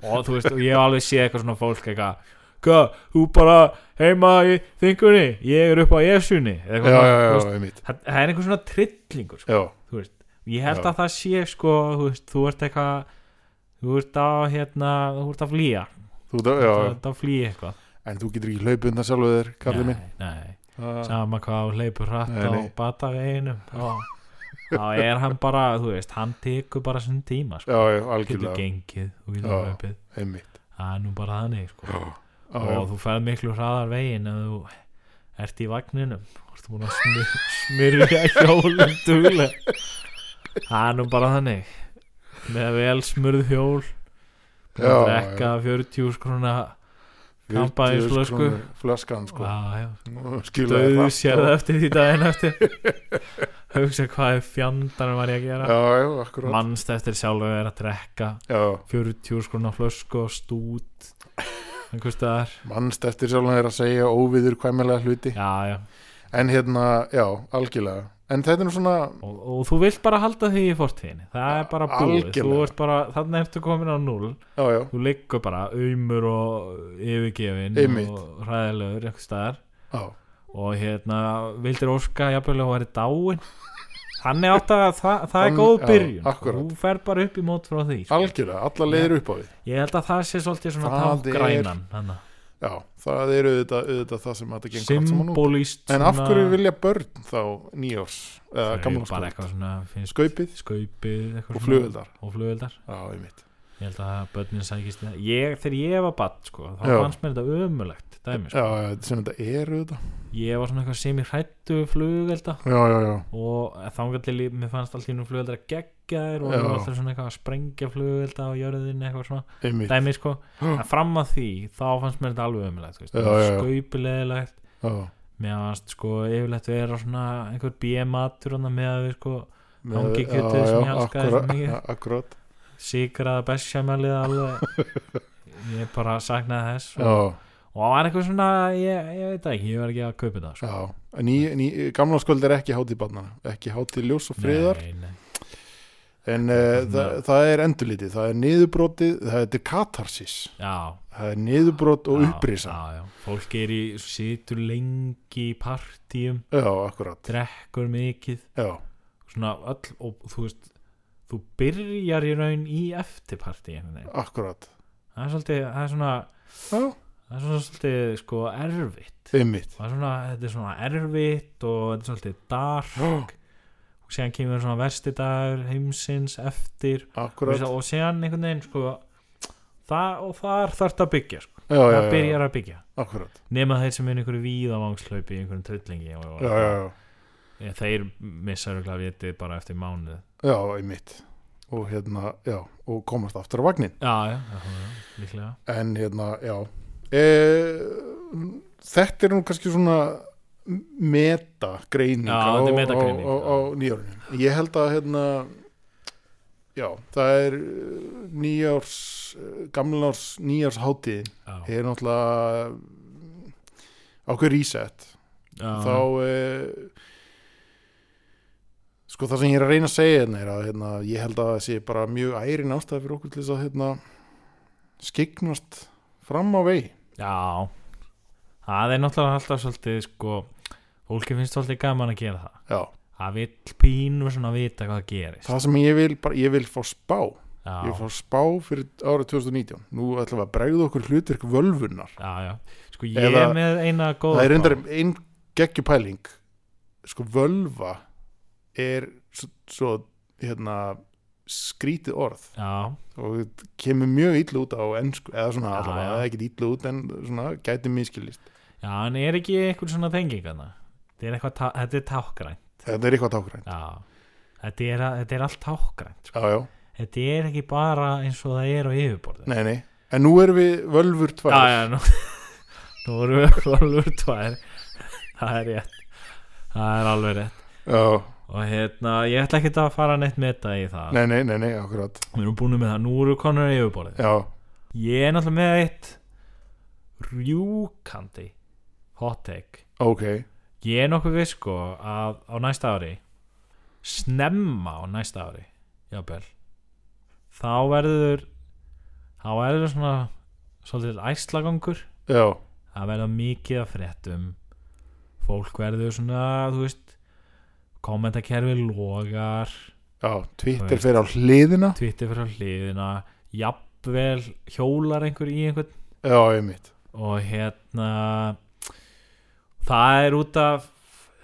S1: og þú veist, og ég hef alveg séð eitthvað svona fólk eitthvað Hvað, þú bara heima í þingunni, ég er upp á Esjunni Eða
S5: já,
S1: eitthvað svona, þú
S5: já, já,
S1: veist,
S5: einmitt
S1: það, það er einhver svona trillingur sko,
S5: já,
S1: þú veist, ég held
S5: Já.
S1: að það sé sko, þú veist, þú ert eitthvað þú ert að hérna, þú ert að flýja
S5: Þú, veit að-
S1: þú
S5: já,
S1: ert að flýja eitthvað
S5: en þú getur ekki hlaupið undan sjálfur þér, kallið minn
S1: nei, nei,
S5: Það-
S1: sama hvað þú hleypur hratt
S5: Nei,
S1: á
S5: nei.
S1: bataveginum þá, þá er hann bara, þú veist hann tekur bara sinn tíma sko.
S5: Já, já,
S1: getur
S5: algjörlega,
S1: gengið og getur
S5: Já.
S1: hlaupið
S5: heimitt
S1: það er nú bara þannig sko.
S5: Já,
S1: og
S5: já,
S1: þú ferð miklu hraðar veginn ef þú ert í vagninum ertu búin að smyr, smyrja hjólum duglega það er nú bara þannig með vel smurð hjól búin að
S5: Já,
S1: drekka 40 skrona
S5: 40
S1: kampavínsflösku.
S5: krónur Flaskan, sko
S1: Ah.
S5: Skilaði
S1: döðu
S5: hratt
S1: sérða
S5: og-
S1: eftir því daginn eftir hugsa hvað fjandarn var ég að gera
S5: Já, já, akkurat
S1: mannst eftir sjálfur er að drekka
S5: Já,
S1: 40 skrona flösku og stút einhvers staðar
S5: mannst eftir sjálfan er að segja óviður kvæmilega hluti
S1: já já
S5: En hérna, já, algjörlega En þetta er nú svona,
S1: og, og þú vilt bara halda því í fortíðinni það er bara búið
S5: Algjörlega.
S1: þú ert bara, þannig ertu komin á null
S5: já, já
S1: þú liggur bara umur og yfirgefin
S5: Einmitt.
S1: og hræðilegur eitthvað staðar
S5: Já,
S1: og hérna vildir óska jafnvel að hún væri dáin þannig átt að það, það er
S5: Þann-
S1: góð
S5: já,
S1: byrjun
S5: akkúrat.
S1: þú fer bara upp í mót frá því sko.
S5: algjörlega, alla leiðir upp á því
S1: ég held að það sé svolítið svona
S5: Það
S1: tágrænan þarna.
S5: Já, það er auðvitað, auðvitað það sem þetta gengur allt saman út
S1: symbolist
S5: En af
S1: svona-
S5: hverju vilja börn þá nýjárs eða
S1: Þau
S5: gamla
S1: bara eitthvað svona finnst
S5: Skaupið
S1: skaupið eitthvað
S5: og
S1: svona-
S5: flugöldar
S1: og flugöldar
S5: Já, einmitt
S1: Ég held að börnin sækist í það ég, Þegar ég var badd sko, þá
S5: Já.
S1: fannst mér þetta ömulegt dæmi,
S5: Já,
S1: sko.
S5: já, sem þetta er auðvitað
S1: Ég var svona eitthvað sem ég hrættu flugelda
S5: Já, já, já,
S1: og þangalli líf, mér fannst alltaf nú flugeldar geggjaðir og
S5: Já.
S1: það var alltaf svona eitthvað að sprengja flugelda á jörðinni eitthvað svona
S5: einmitt
S1: dæmi sko, en fram að því þá fannst mér þetta alveg ömulegt þú veist.
S5: Já, já, já.
S1: skaupilegilegt
S5: Já,
S1: mér fannst sko yfirlegt vera svona einhver bíematur með að við sko
S5: með-
S1: Hangikjötið
S5: já,
S1: sem
S5: já,
S1: ég elskaði svo
S5: akkúrat-
S1: mikið.
S5: Akkúrat,
S1: sigraða besjamelið alveg ég bara saknaði þess og
S5: já,
S1: og það var eitthvað svona, ég, ég veit það ekki ég var ekki að kaupa það sko.
S5: já En ný, ný, gamla skvöld er ekki hátíð barnana Ekki hátíð ljós og friðar
S1: nei, nei.
S5: En uh, það,
S1: Nei.
S5: það er endurlítið, það er niðurbrotið Það er katarsis
S1: Já,
S5: Það er niðurbrot og
S1: já,
S5: upprisa
S1: já, já. fólk er í, situr lengi í partíum,
S5: Já, akkurat
S1: drekkur mikið
S5: Já,
S1: svona öll og þú veist þú byrjar í raun í eftirpartí einhvern veginn.
S5: akkurat
S1: það er svolítið það er svona,
S5: Já,
S1: það er svona svolítið sko erfitt
S5: einmitt
S1: það er svona, þetta er svona erfitt og þetta er svolítið dark
S5: Já,
S1: og séðan kemur svona versti dagur heimsins eftir
S5: akkurat
S1: og séðan einhvern veginn sko, það, og þar þarf að byggja sko.
S5: Já, já,
S1: það
S5: já, já,
S1: byrjar að byggja
S5: akkurat
S1: nema þeir sem er einhverju víðavangslaupi í einhverjum tryllingi og,
S5: Já, já, já
S1: Ég, þeir missar örugglega vitið bara eftir mánuð
S5: Já, einmitt og hérna, já, og komast aftur á vagnin
S1: já, já, já, já, líklega
S5: en hérna, já e, þetta er nú kannski svona metagreining
S1: Já,
S5: á,
S1: þetta er
S5: á,
S1: metagreining,
S5: á, á nýjörnum ég held að hérna já, það er eh, nýjárs, eh, gamlárs nýjárs hátíðin
S1: já,
S5: er náttúrulega ákveð reset
S1: já,
S5: þá e, sko það sem ég er að reyna að segja hérna er að hérna, ég held að það sé bara mjög ærin ástæða fyrir okkur til þess að hérna, skiknast fram á vegi
S1: já það er náttúrulega alltaf svolítið sko, fólki finnst svolítið gaman að gera það
S5: Já,
S1: það vill pínu svona vita hvað gerist
S5: það sem ég vil bara, ég vil fá spá ég vil
S1: já,
S5: fá spá fyrir árið 2019 nú ætlum við að bregða okkur hlutverk völvunar
S1: já, já sko ég
S5: Eða-
S1: er með eina góða
S5: það er reyndar
S1: spá.
S5: einn geggjupæling sko völva er svo, svo hérna skrítið orð
S1: já,
S5: og þetta kemur mjög illa út á ennsku eða svona
S1: Já,
S5: allavega,
S1: já.
S5: það er ekkit illa út en svona gæti miskilist
S1: já, en er ekki einhver svona tenging þarna? Þetta er eitthvað tá- þetta er tákgræn
S5: þetta er eitthvað tákrænt
S1: já, þetta er, þetta er allt tákgræn sko.
S5: já, já,
S1: þetta er ekki bara eins og það er á yfirborðinu
S5: nei, nei en nú erum við völvur tvær
S1: já, já, nú, nú erum við alveg tvær það er rétt það er alveg rétt
S5: Já,
S1: og hérna, ég ætla ekki að fara neitt með þetta í það
S5: nei, nei, nei, nei, akkurat
S1: við erum búin með það, nú erum við konur á yfirborðið
S5: já,
S1: ég er náttúrulega með eitt rjúkandi hot take
S5: ok,
S1: ég er nokkuð við sko að á næsta ári snemma á næsta ári jábel þá verður þá verður svona svolítið æslagangur
S5: já
S1: það verða mikið að fréttum fólk verður svona þú veist kommentakerfi logar
S5: já,
S1: Þú
S5: Twitter
S1: veist.
S5: fer á hliðina
S1: Twitter fyrir á hliðina jafnvel hjólar einhver í einhvern
S5: já, ég mitt
S1: og hérna það er út af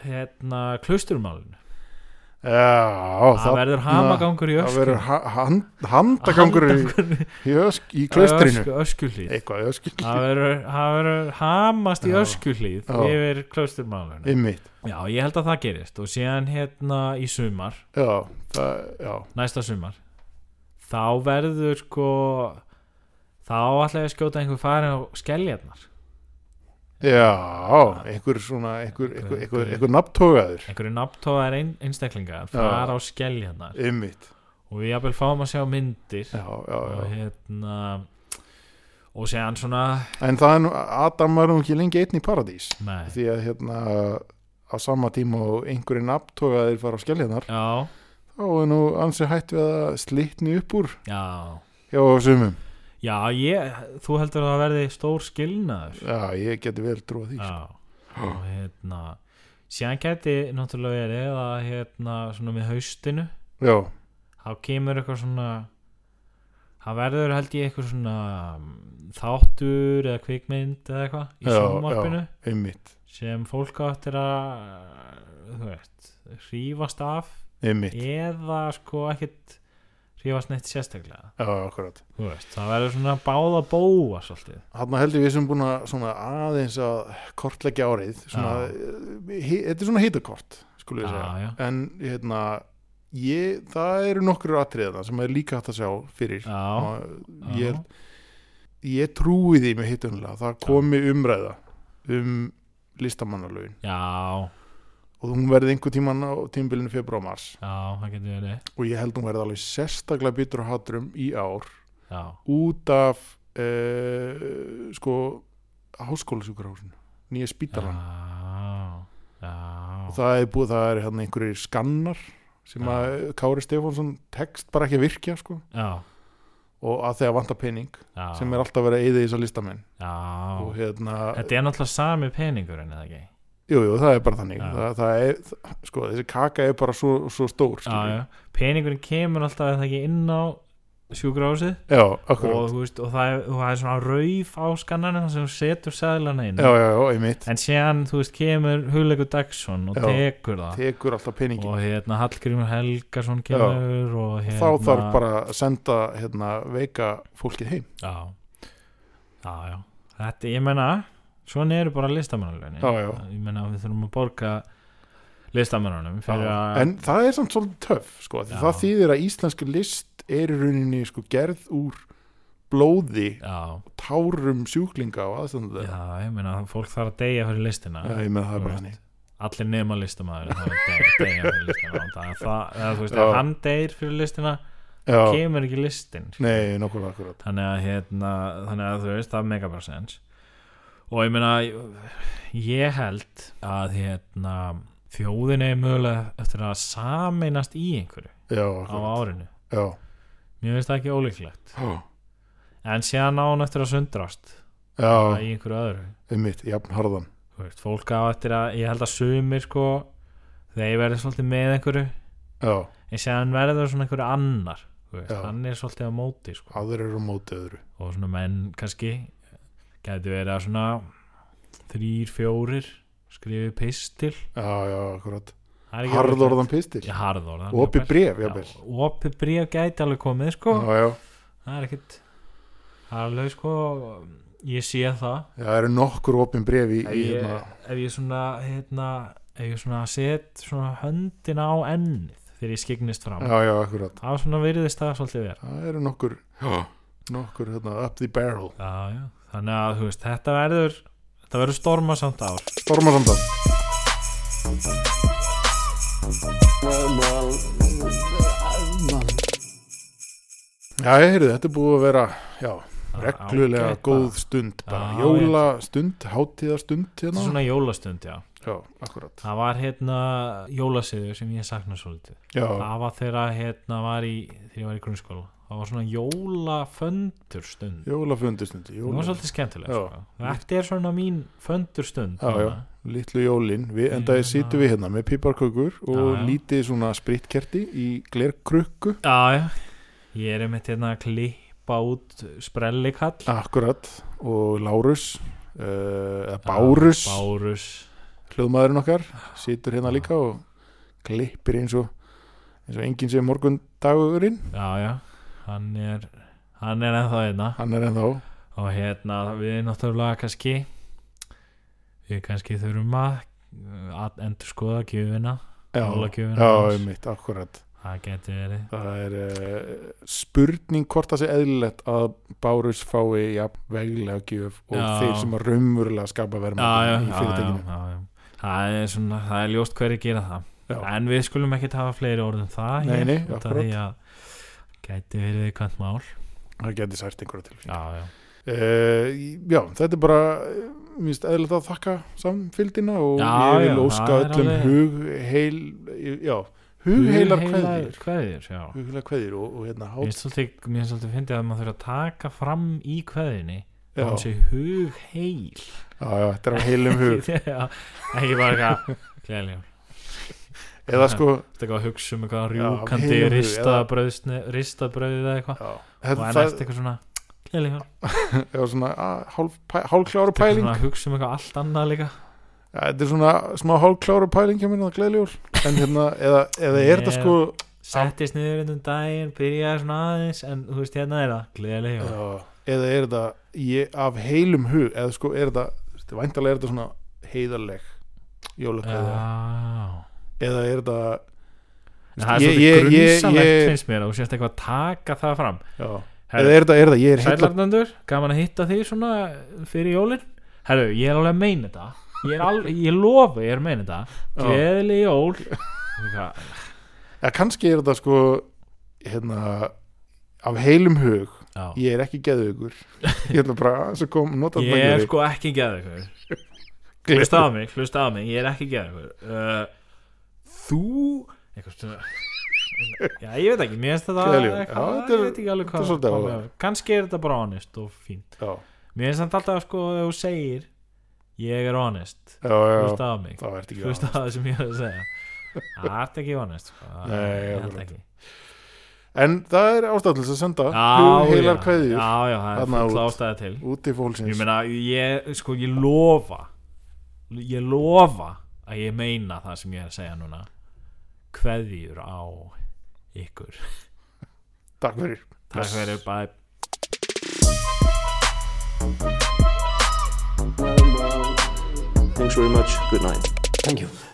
S1: hérna klusturmálinu
S5: Já,
S1: Það verður hamagangur í
S5: Það
S1: ösku.
S5: verður ha hand, handagangur í, í, ösk, í klaustrinu
S1: öskulíð
S5: Eitthvað, öskil
S1: það verður það verður hamast í
S5: Já.
S1: öskulíð
S5: Já.
S1: yfir klusturmálinu
S5: Einmitt
S1: Já, ég held að það gerist og síðan hérna í sumar,
S5: Já, það, já,
S1: næsta sumar þá verður sko þá ætla ég að skjóta einhver farin á skelljarnar
S5: já Einhver svona, einhver, einhver, einhver, einhver nafntógaður
S1: einhverju nafntóðar ein, einstaklingar fara á skelljarnar
S5: Einmitt
S1: og við jafnvel fáum að sjá myndir
S5: Já, já,
S1: og
S5: já
S1: hérna og séðan svona
S5: En það er nú, Adam var nú ekki lengi einn í paradís
S1: nei,
S5: Því að hérna á sama tíma og einhverju nafntógaður fara á skelljarnar
S1: já,
S5: þá er nú ansi hætt við að slitni upp úr
S1: já
S5: hjá sumum
S1: já, ég, þú heldur að það verði stór skilnaður
S5: Já, ég geti vel trúa því sko.
S1: já, og hérna síðan geti náttúrulega verið að hérna svona með haustinu
S5: Já,
S1: þá kemur eitthvað svona það verður held ég eitthvað svona mm, þáttur eða kvikmynd eða eitthvað í
S5: já,
S1: sjónvarpinu
S5: já, einmitt
S1: sem fólk áttir að þú veist, hrífast af
S5: Einmitt,
S1: eða sko ekkert hrífast neitt sérstaklega
S5: já, akkurat
S1: þú veist, það verður svona báða bóa svolítið
S5: Þarna heldur við sem búin að svona aðeins að kortleggja árið svona, eh, hi, þetta er svona hitakort skulum við
S1: Já,
S5: segja
S1: já.
S5: en hérna ég, það eru nokkur atriðana sem er líka hægt að sjá fyrir
S1: já,
S5: Og ég, ég trúi því með hitunlega það komi umræða um listamannalögin
S1: já,
S5: og hún verði einhver tíman á tímbilinu februar og mars
S1: já, það getur verið
S5: og ég held hún verði alveg sérstaklega byttur á hatrum í ár
S1: já,
S5: út af uh, sko háskólasjúkurhásinu nýja
S1: já,
S5: spítalan
S1: já
S5: það er búið, það er hérna einhverjir skannar sem að Kári Stefánsson tekst bara ekki að virkja sko
S1: já,
S5: og að þegar vanta pening
S1: já,
S5: sem er alltaf verið að eyða í þessa listamenn
S1: já.
S5: og hérna,
S1: Þetta er náttúrulega sami peningur en eða ekki
S5: jú, jú, það er bara þannig
S1: Já.
S5: það, það er, það, sko, þessi kaka er bara svo, svo stór
S1: já,
S5: skilur.
S1: já. Peningurinn kemur alltaf eða ekki inn á sjúkrahúsið
S5: já,
S1: og,
S5: akkurat
S1: þú veist, og það, er, og það er svona rauf á skannarinn þar sem þú setur seglana inn
S5: já, já, já, einmitt,
S1: en síðan þú veist kemur Hugleikur Dagsson og
S5: Já.
S1: tekur það
S5: tekur alltaf peningin
S1: og hérna Hallgrímur Helgason kemur og hérna
S5: þá þarf bara að senda hérna, veika fólkið heim
S1: já, já, já. Þetta, ég menna, svona eru bara listamannalögin
S5: Já, já.
S1: ég menna við þurfum að borga listamannunum fyrir
S5: Já,
S1: að
S5: en það er samt svolítið töff sko, því
S1: Já.
S5: það þýðir að íslenski list er í rauninni sko, gerð úr blóði,
S1: já,
S5: tárum sjúklinga og aðstændu
S1: já, ég menna fólk þarf að deyja fyrir listina
S5: Já, ég með það er bara
S1: Þú
S5: þannig
S1: allir nema listamaður það er deyja fyrir listina það, er það, það, þú veist,
S5: Já.
S1: ef hann deyr fyrir listina
S5: Já,
S1: kemur ekki listin skilur.
S5: nei, nokkuð akkurat
S1: þannig að, hérna, þannig að þú veist það er mega bara sens og ég meina ég held að hérna, þjóðin er mögulega eftir að sameinast í einhverju
S5: Já,
S1: á
S5: akkurat
S1: árinu
S5: Já,
S1: mér finnst það ekki ólíklegt
S5: já,
S1: en síðan á hann eftir að sundrast
S5: já
S1: í einhverju öðru
S5: um mitt, jafn harðan
S1: Þú veist, fólk á eftir að ég held að sumir sko þeir verður svolítið með einhverju
S5: Já,
S1: en síðan verður svona einhverju annar þú veist,
S5: Já.
S1: hann er svolítið á móti sko.
S5: aður eru á móti öðru
S1: og svona menn kannski gæti verið að svona þrýr, fjórir skrifi pistil
S5: Já, já, akkurat
S1: Það er ekki
S5: Harðorðan
S1: ólíklegt.
S5: pistil
S1: Já, harðorðan
S5: Og opið bréf, jafnvel.
S1: jafnvel. Já, opið bréf gæti alveg komið sko
S5: Já, já,
S1: það er ekkit það er alveg sko ég sé það
S5: já, það eru nokkur opin bref í,
S1: ef
S5: í
S1: ég,
S5: hérna
S1: ef ég svona hérna, ef ég svona set svona höndina á ennið þegar ég skiknist fram
S5: Já, já, akkurat
S1: það var svona virðist það svolítið vera
S5: Það eru nokkur, nokkur hérna, up the barrel
S1: Já, já, þannig að þú veist, þetta verður þetta verður stormasamt ár
S5: Stormasamdan
S4: Well, well,
S5: Já, ég heyrði, þetta er búið að vera já, reglulega
S1: Ah, ágætt
S5: góð
S1: bara.
S5: stund bara
S1: Já,
S5: jólastund, hátíðastund
S1: Þetta
S5: hérna.
S1: er svona jólastund, já
S5: Já, akkurat
S1: Það var hérna jólasiður sem ég sakna svolítið
S5: Já,
S1: Það var þegar hérna var í þegar ég var í grunnskóla Það var svona jólaföndurstund
S5: jólafundustund
S1: Það var
S5: jóla.
S1: svolítið skemmtileg
S5: Já.
S1: sko. Þetta er svona mín föndurstund
S5: Já, já, litlu jólin við, en það
S1: Hérna.
S5: situm við hérna með piparkökur
S1: Já,
S5: og
S1: já.
S5: lítið svona spritkerti í glerkrukku
S1: já, já Ég er einmitt hérna að klippa klippa út sprellikall
S5: Akkurat og Lárus uh, eða Bárus,
S1: Bárus
S5: hljóðmaðurinn okkar situr hérna líka og klippir eins og eins og enginn sem morgun dagurinn
S1: Já, já, hann er hann er ennþá einna
S5: hann er ennþá
S1: og hérna við náttúrulega kannski við kannski þurfum að að endur skoða gjöfina Jólagjöfin
S5: já,
S1: hans.
S5: mitt, akkurat
S1: það geti verið
S5: það er uh, spurning hvort það sé eðlilegt að Bárus fái ja, veglega gjöf og
S1: Já.
S5: þeir sem að raunverulega skapa verma
S1: já, já,
S5: í
S1: já, já,
S5: fyrirtækinu
S1: já, já. Það, er svona, það er ljóst hverju gera það
S5: Já.
S1: en við skulum ekki hafa fleiri orð um það
S5: Nei,
S1: hér,
S5: nei,
S1: út af
S5: akkurat.
S1: því að gæti verið viðkvæmt mál
S5: það geti sært einhverja til
S1: já, já,
S5: Uh, já, þetta er bara eh, mér finnst eðlilegt að þakka samfylgdina og
S1: Já,
S5: ég vil
S1: já,
S5: óska
S1: það er
S5: öllum
S1: alveg-
S5: hugheil já, hugheilar kveðir
S1: kveðir já.
S5: hugheilar kveðir og, og hérna
S1: Mér
S5: hát,
S1: finnst svolítið- mér finnst svolítið fyndið að maður þurfa að taka fram í kveðinni
S5: já,
S1: að hún
S5: já,
S1: sé hugheil
S5: já, þetta er af heilum hug
S1: Já, ekki bara eitthvað gleðilegur
S5: eða sko,
S1: Þetta eitthvað að hugsa um eitthvað
S5: Já,
S1: rjúkandi
S5: heilum hug, eða-
S1: ristabrauðsni ristabrauðið eða eitthvað
S5: já,
S1: og
S5: þetta,
S1: en
S5: það
S1: eftir eitthvað svona gleðilegur
S5: er svona að, hálf, pæ, hálfklára
S1: Þetta er
S5: pæling
S1: svona að hugsa um eitthvað allt annað líka
S5: ja, þetta er svona smá hálfklára pæling hjá mér, það er gleðilegur en hérna, eða, eða er þetta
S1: Ég-
S5: sko
S1: Settist niður einhvern daginn, byrjaði svona aðeins en þú veist hérna er það, gleðilegur
S5: já, eða er þetta ég, af heilum hug, eða sko er þetta væntalega er þetta svona heiðarleg jólakveðja
S1: Já Sko,
S5: eða er þetta
S1: En það er
S5: Ég-
S1: svolítið
S5: ég- ég-
S1: grunsalegt
S5: ég-
S1: finnst mér að þú sést eitthvað að taka það fram
S5: já.
S1: Herru,
S5: eða er þetta, er þetta, ég er heillar
S1: Sælarnandur, gaman að hitta þig svona fyrir jólin Herru, ég er alveg að meina þetta Ég, er al, ég lofa, ég er að meina þetta Gleðileg jól Eitthvað,
S5: ja, kannski er þetta sko hérna af heilum hug,
S1: já.
S5: ég er ekki geðugur ég ætla bara aðeins að kom nota
S1: Ég
S5: þetta
S1: er
S5: ekki.
S1: sko ekki geðið
S5: Gleð-
S1: Hlusta á mig, hlusta á mig Ég er ekki geðið uh, Þú Eitthvað svona Já, ég veit ekki, mér finnst þetta
S5: Gleðileg jól.
S1: eitthvað,
S5: Já, þetta
S1: Ég
S5: er-
S1: veit ekki alveg
S5: þetta er svolítið
S1: hvað
S5: áhugavert.
S1: Kannski er þetta bara honest og fínt
S5: já,
S1: Mér finnst þetta alltaf sko Þegar þú segir Ég er honest
S5: já, já,
S1: Hlusta á mig
S5: það ert ekki
S1: hlusta á það sem ég er að segja það ert ekki honest sko. Það
S5: Nei,
S1: er
S5: akkurat.
S1: þetta ekki.
S5: það. en það er ástæðlis að senda
S1: já,
S5: heilar
S1: já,
S5: kveðjur
S1: já, já, það er
S5: Þarna
S1: full
S5: út.
S1: ástæða til
S5: út í
S1: ég
S5: fólksins
S1: meina, ég, sko, ég lofa ég lofa að ég meina það sem ég er að segja núna kveðjur á ykkur
S5: takk fyrir
S1: takk fyrir, bye
S4: Thanks very much. Good night.
S3: Thank you.